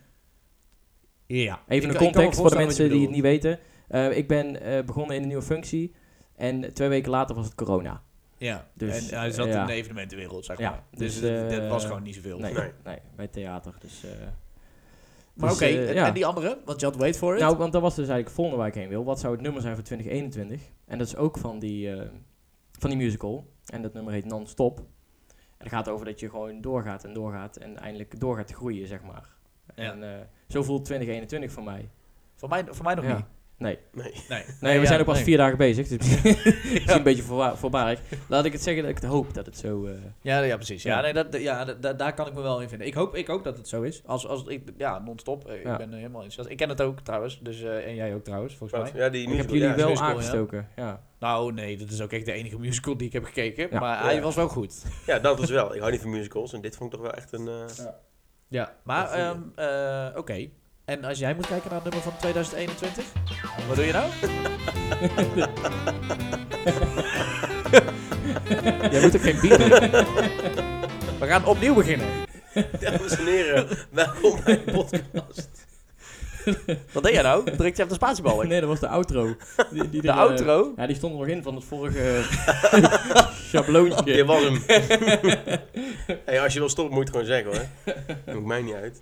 [SPEAKER 3] Even
[SPEAKER 1] Ja. Ik-
[SPEAKER 3] een
[SPEAKER 1] ik kan me
[SPEAKER 3] context voor de
[SPEAKER 1] voorstellen wat je
[SPEAKER 3] mensen die het
[SPEAKER 1] bedoelt.
[SPEAKER 3] niet weten. Eh, ik ben eh, begonnen in een nieuwe functie. En twee weken later was het corona.
[SPEAKER 1] Ja,
[SPEAKER 3] Dus,
[SPEAKER 1] en hij zat
[SPEAKER 3] ja.
[SPEAKER 1] in de evenementenwereld, zeg
[SPEAKER 3] Ja,
[SPEAKER 1] maar.
[SPEAKER 3] dus,
[SPEAKER 1] dus het-
[SPEAKER 3] eh,
[SPEAKER 1] dat was gewoon niet zoveel.
[SPEAKER 3] Nee, nee.
[SPEAKER 2] Nee.
[SPEAKER 3] bij theater. Dus, eh,
[SPEAKER 1] Maar
[SPEAKER 3] dus,
[SPEAKER 1] oké,
[SPEAKER 3] eh,
[SPEAKER 1] en-
[SPEAKER 3] ja.
[SPEAKER 1] en die andere? Want je had Wait For It.
[SPEAKER 3] Nou, want dat was dus eigenlijk het volgende waar ik heen wil. Wat zou het nummer zijn voor 2021? En dat is ook van die, eh, van die musical. En dat nummer heet Non-Stop. En dat gaat over dat je gewoon doorgaat en doorgaat. En eindelijk door gaat groeien, zeg maar.
[SPEAKER 1] Ja.
[SPEAKER 3] En eh, zo voelt 2021 voor mij.
[SPEAKER 1] voor, mij, voor mij nog
[SPEAKER 3] Ja.
[SPEAKER 1] niet.
[SPEAKER 2] Nee.
[SPEAKER 1] Nee,
[SPEAKER 3] Nee, we
[SPEAKER 1] ja,
[SPEAKER 3] zijn ook pas
[SPEAKER 1] nee.
[SPEAKER 3] vier dagen bezig. Dus misschien misschien een beetje voorwa- voorbarig. Laat ik het zeggen dat ik het hoop dat het zo... eh,
[SPEAKER 1] Ja, ja precies. Ja,
[SPEAKER 3] Ja.
[SPEAKER 1] nee, dat, dat- ja dat- dat- daar kan ik me wel in vinden. Ik hoop, ik hoop dat het zo is. Als, als ik, ja, non-stop. Eh,
[SPEAKER 3] Ja.
[SPEAKER 1] Ik ben er helemaal enthousiast. Ik ken het ook trouwens. Dus, eh, en jij ook trouwens, volgens
[SPEAKER 2] Wat?
[SPEAKER 1] mij.
[SPEAKER 2] Ja, die
[SPEAKER 3] ik heb
[SPEAKER 2] musical,
[SPEAKER 3] jullie
[SPEAKER 2] ja,
[SPEAKER 3] wel
[SPEAKER 1] musical, ja.
[SPEAKER 3] aangestoken. Ja.
[SPEAKER 1] Nou, nee, dat is ook echt de enige musical die ik heb gekeken.
[SPEAKER 3] Ja.
[SPEAKER 1] Maar
[SPEAKER 2] Ja. dus
[SPEAKER 1] hij was wel goed.
[SPEAKER 2] Ja, dat is wel. Ik hou niet van musicals en dit vond ik toch wel echt een... eh,
[SPEAKER 1] Ja. Ja, maar
[SPEAKER 2] Dat
[SPEAKER 1] ehm, eh, oké. En als jij moet kijken naar het nummer van 2021, wat doe je nou? jij moet ook geen bier drinken. We gaan opnieuw beginnen.
[SPEAKER 2] Dames en heren, welkom bij de podcast.
[SPEAKER 1] Wat deed jij nou? Druk je op de spatiebalk?
[SPEAKER 3] Nee, dat was de outro. Die, die
[SPEAKER 1] De
[SPEAKER 3] er, eh,
[SPEAKER 1] outro?
[SPEAKER 3] Ja, die stond er nog in van het vorige schabloontje.
[SPEAKER 2] Dit was hem. hey, als je wil stoppen, moet je het gewoon zeggen hoor. Doet mij niet uit.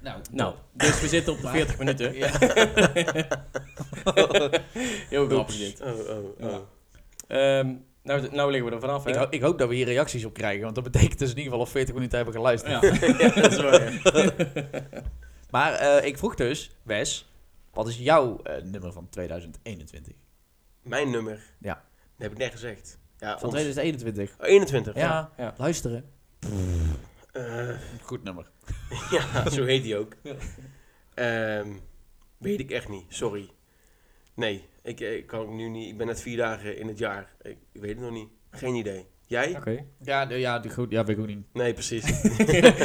[SPEAKER 1] Nou,
[SPEAKER 3] Nou, dus we zitten op de 40 minuten. Heel grappig dit.
[SPEAKER 2] Oh, oh, oh.
[SPEAKER 3] Ehm, nou, nou liggen we er vanaf, hè?
[SPEAKER 1] ik, ho- ik hoop dat we hier reacties op krijgen, want dat betekent dus in ieder geval of 40 minuten hebben geluisterd.
[SPEAKER 3] Ja.
[SPEAKER 2] Ja, dat is waar.
[SPEAKER 1] Maar eh, ik vroeg dus, Wes, wat is jouw eh, nummer van 2021?
[SPEAKER 2] Mijn nummer.
[SPEAKER 1] Ja.
[SPEAKER 2] Dat heb ik net gezegd. Ja,
[SPEAKER 1] Van
[SPEAKER 2] ons-
[SPEAKER 1] 2021?
[SPEAKER 2] Oh, 21.
[SPEAKER 1] Ja,
[SPEAKER 3] Ah, Ja.
[SPEAKER 1] luisteren.
[SPEAKER 2] Eh,
[SPEAKER 1] Goed nummer.
[SPEAKER 2] ja, zo heet hij ook. Ehm, weet ik echt niet, sorry. Nee, ik, eh, ik kan ook nu niet. Ik ben net vier dagen in het jaar. Ik, ik weet het nog niet. Geen idee. Jij?
[SPEAKER 3] Oké.
[SPEAKER 1] Ja, nee, ja, die goed, ja, weet ik ook niet.
[SPEAKER 2] Nee, precies.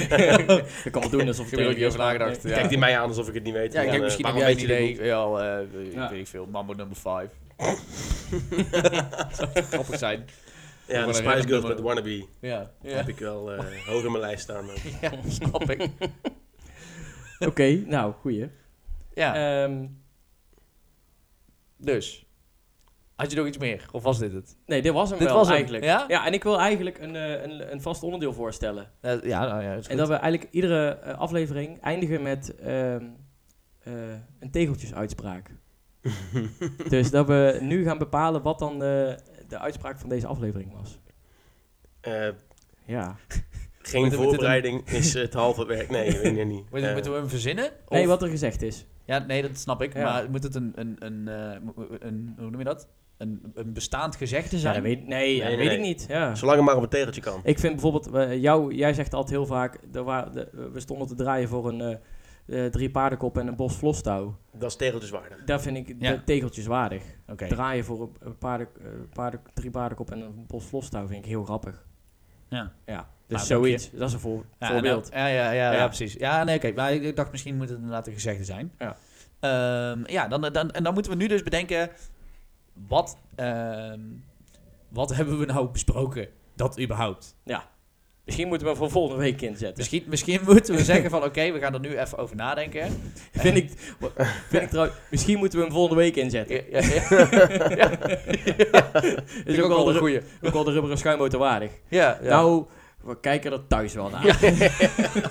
[SPEAKER 3] Ik kan wel doen alsof het
[SPEAKER 1] Ik heb er ook
[SPEAKER 3] tegen
[SPEAKER 1] niet over
[SPEAKER 3] is, maar-
[SPEAKER 1] nagedacht.
[SPEAKER 3] nee.
[SPEAKER 1] Ja.
[SPEAKER 2] Kijkt hij mij aan alsof ik het niet weet.
[SPEAKER 1] Ja,
[SPEAKER 2] Dan,
[SPEAKER 1] ik denk
[SPEAKER 2] eh,
[SPEAKER 1] misschien heb
[SPEAKER 2] waarom
[SPEAKER 1] jij een
[SPEAKER 2] weet je dit
[SPEAKER 1] idee. Wel, eh, weet
[SPEAKER 3] Ja.
[SPEAKER 1] ik veel, Mambo number 5. Grappig zijn.
[SPEAKER 2] niet? Ja, de
[SPEAKER 1] Gewoon een
[SPEAKER 2] Spice
[SPEAKER 1] random
[SPEAKER 2] Girls
[SPEAKER 1] nummer.
[SPEAKER 2] met Wannabe
[SPEAKER 1] Ja, ja.
[SPEAKER 2] heb ik wel eh, hoog in mijn lijst staan. maar-
[SPEAKER 1] ja snap ik.
[SPEAKER 3] Oké, nou, goeie.
[SPEAKER 1] Ja,
[SPEAKER 3] Ehm,
[SPEAKER 1] dus. Had je nog iets meer? Of was dit het?
[SPEAKER 3] nee, dit was hem
[SPEAKER 1] Dit
[SPEAKER 3] wel
[SPEAKER 1] was hem,
[SPEAKER 3] eigenlijk.
[SPEAKER 1] ja?
[SPEAKER 3] en ik wil eigenlijk een, eh, een, een vast onderdeel voorstellen.
[SPEAKER 1] Eh, ja, nou ja, is
[SPEAKER 3] En
[SPEAKER 1] goed.
[SPEAKER 3] dat we eigenlijk iedere eh, aflevering eindigen met ehm, eh, een tegeltjesuitspraak. dus dat we nu gaan bepalen wat dan eh, de uitspraak van deze aflevering was.
[SPEAKER 2] Eh,
[SPEAKER 3] Ja.
[SPEAKER 2] geen
[SPEAKER 1] Moeten we dit
[SPEAKER 2] voorbereiding is het halve werk. Nee, ik weet het niet.
[SPEAKER 1] Moeten,
[SPEAKER 2] Eh,
[SPEAKER 1] moeten we hem verzinnen?
[SPEAKER 3] Nee,
[SPEAKER 1] Of-
[SPEAKER 3] wat er gezegd is.
[SPEAKER 1] Ja, nee, dat snap ik.
[SPEAKER 3] Ja.
[SPEAKER 1] Maar moet het een, een, een, eh, mo- mo- een... Hoe noem je dat? Een, een bestaand gezegde
[SPEAKER 3] Ja,
[SPEAKER 1] zijn?
[SPEAKER 3] dat weet, nee, ja,
[SPEAKER 2] Nee,
[SPEAKER 3] dat
[SPEAKER 2] nee.
[SPEAKER 3] weet ik niet. Ja.
[SPEAKER 2] Eh, Zolang het maar op een tegeltje kan.
[SPEAKER 3] Ik vind bijvoorbeeld, eh, jou, jij zegt altijd heel vaak, er wa- de- we stonden te draaien voor een eh, eh, drie paardenkop en een bos vlostouw.
[SPEAKER 2] Dat is tegeltjeswaardig.
[SPEAKER 3] Daar vind ik
[SPEAKER 1] Ja.
[SPEAKER 3] de tegeltjes waardig.
[SPEAKER 1] Oké.
[SPEAKER 3] Draaien voor een- een paarden, eh, paarden, drie paardenkop en een bos vlostouw vind ik heel grappig.
[SPEAKER 1] Ja.
[SPEAKER 3] Ja,
[SPEAKER 1] dank
[SPEAKER 3] dus
[SPEAKER 1] je.
[SPEAKER 3] zoiets. Dat is een voor,
[SPEAKER 1] Ja,
[SPEAKER 3] voorbeeld.
[SPEAKER 1] nou, ja, ja, ja, ja,
[SPEAKER 3] Ja.
[SPEAKER 1] precies. Ja, nee, oké. Maar ik- ik dacht, misschien moet het inderdaad een gezegde zijn.
[SPEAKER 3] Ja.
[SPEAKER 1] Ehm, ja, dan, dan, en dan moeten we nu dus bedenken... Wat, ehm, wat hebben we nou besproken? Dat überhaupt.
[SPEAKER 3] Misschien moeten we hem voor volgende week inzetten.
[SPEAKER 1] Misschien, misschien moeten we zeggen van... Oké, we gaan er nu even over nadenken.
[SPEAKER 3] vind ik, wa- vind ik trouwens, misschien moeten we hem volgende week inzetten.
[SPEAKER 1] Ja, ja, ja.
[SPEAKER 3] Dat
[SPEAKER 1] Vind
[SPEAKER 3] is
[SPEAKER 1] ik
[SPEAKER 3] ook wel, de, ru-
[SPEAKER 1] goeie.
[SPEAKER 3] ook wel de rubberen schuimboten waardig.
[SPEAKER 1] Ja, ja.
[SPEAKER 3] Nou, we kijken er thuis wel naar.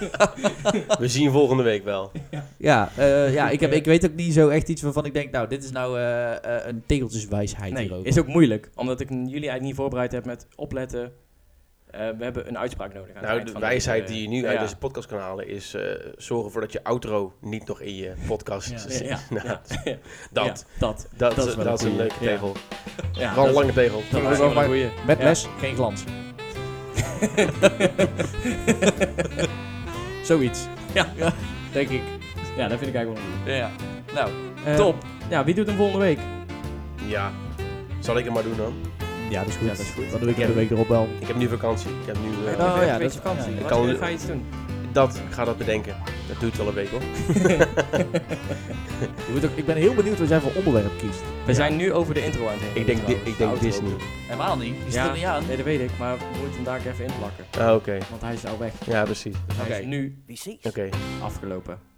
[SPEAKER 2] We zien volgende week wel.
[SPEAKER 1] Ja, eh, ja ik, heb, ik weet ook niet zo echt iets waarvan ik denk, nou, dit is nou eh, eh, een tegeltjeswijsheid
[SPEAKER 3] Nee,
[SPEAKER 1] hierover.
[SPEAKER 3] is ook moeilijk. Omdat ik jullie eigenlijk niet voorbereid heb met opletten. Eh, we hebben een uitspraak nodig. aan het
[SPEAKER 2] Nou,
[SPEAKER 3] eind
[SPEAKER 2] de
[SPEAKER 3] van
[SPEAKER 2] wijsheid
[SPEAKER 3] deze-
[SPEAKER 2] die je nu
[SPEAKER 3] ja.
[SPEAKER 2] uit deze podcast kan halen is... eh, zorg ervoor dat je outro niet nog in je podcast
[SPEAKER 1] Ja.
[SPEAKER 2] zit.
[SPEAKER 3] Ja, ja,
[SPEAKER 2] Nou,
[SPEAKER 3] ja, ja.
[SPEAKER 2] Dat,
[SPEAKER 3] Ja, dat.
[SPEAKER 2] dat,
[SPEAKER 3] Dat
[SPEAKER 2] dat,
[SPEAKER 3] is
[SPEAKER 2] is,
[SPEAKER 3] wel een
[SPEAKER 2] een leuke
[SPEAKER 3] goeie. Ja.
[SPEAKER 2] tegel.
[SPEAKER 3] Ja,
[SPEAKER 2] Wel een
[SPEAKER 3] dat,
[SPEAKER 2] lange tegel.
[SPEAKER 3] dat is wel een goeie.
[SPEAKER 1] Met
[SPEAKER 3] Ja.
[SPEAKER 1] les, geen glans. Zoiets. Ja, denk ik.
[SPEAKER 3] Ja, dat vind ik eigenlijk wel een goeie.
[SPEAKER 1] Ja. Nou,
[SPEAKER 3] Eh,
[SPEAKER 1] top.
[SPEAKER 3] Ja, wie doet hem volgende week?
[SPEAKER 2] Oh, Ja. Zal ik het maar doen dan?
[SPEAKER 1] Ja, dat is goed.
[SPEAKER 3] Ja, dat is goed.
[SPEAKER 1] Dan doe ik
[SPEAKER 2] Ja.
[SPEAKER 1] de week erop wel.
[SPEAKER 2] Ik heb nu vakantie. Ik heb nu... eh,
[SPEAKER 1] Oh, ja,
[SPEAKER 3] een
[SPEAKER 1] dat-
[SPEAKER 3] beetje vakantie.
[SPEAKER 1] ja,
[SPEAKER 2] ik
[SPEAKER 3] Wat
[SPEAKER 2] kan-
[SPEAKER 3] eh, ga je iets doen?
[SPEAKER 2] Dat, ik ga dat bedenken. Dat duurt wel een week hoor.
[SPEAKER 1] Je moet ook, ik ben heel benieuwd wat jij voor onderwerp kiest.
[SPEAKER 3] We zijn nu over de intro aan het heen.
[SPEAKER 2] Ik denk, di-
[SPEAKER 3] trouwens.
[SPEAKER 2] ik
[SPEAKER 3] De
[SPEAKER 2] denk
[SPEAKER 3] outro.
[SPEAKER 2] Disney.
[SPEAKER 1] Helemaal niet. Je zit
[SPEAKER 3] Ja.
[SPEAKER 1] er niet aan.
[SPEAKER 3] Nee, dat weet ik. Maar we moeten hem daar ook even inplakken.
[SPEAKER 2] Ah, oké.
[SPEAKER 3] Want hij is al weg.
[SPEAKER 2] Ja, precies.
[SPEAKER 3] Dus hij
[SPEAKER 1] Oké.
[SPEAKER 3] is nu
[SPEAKER 2] Oké.
[SPEAKER 3] afgelopen.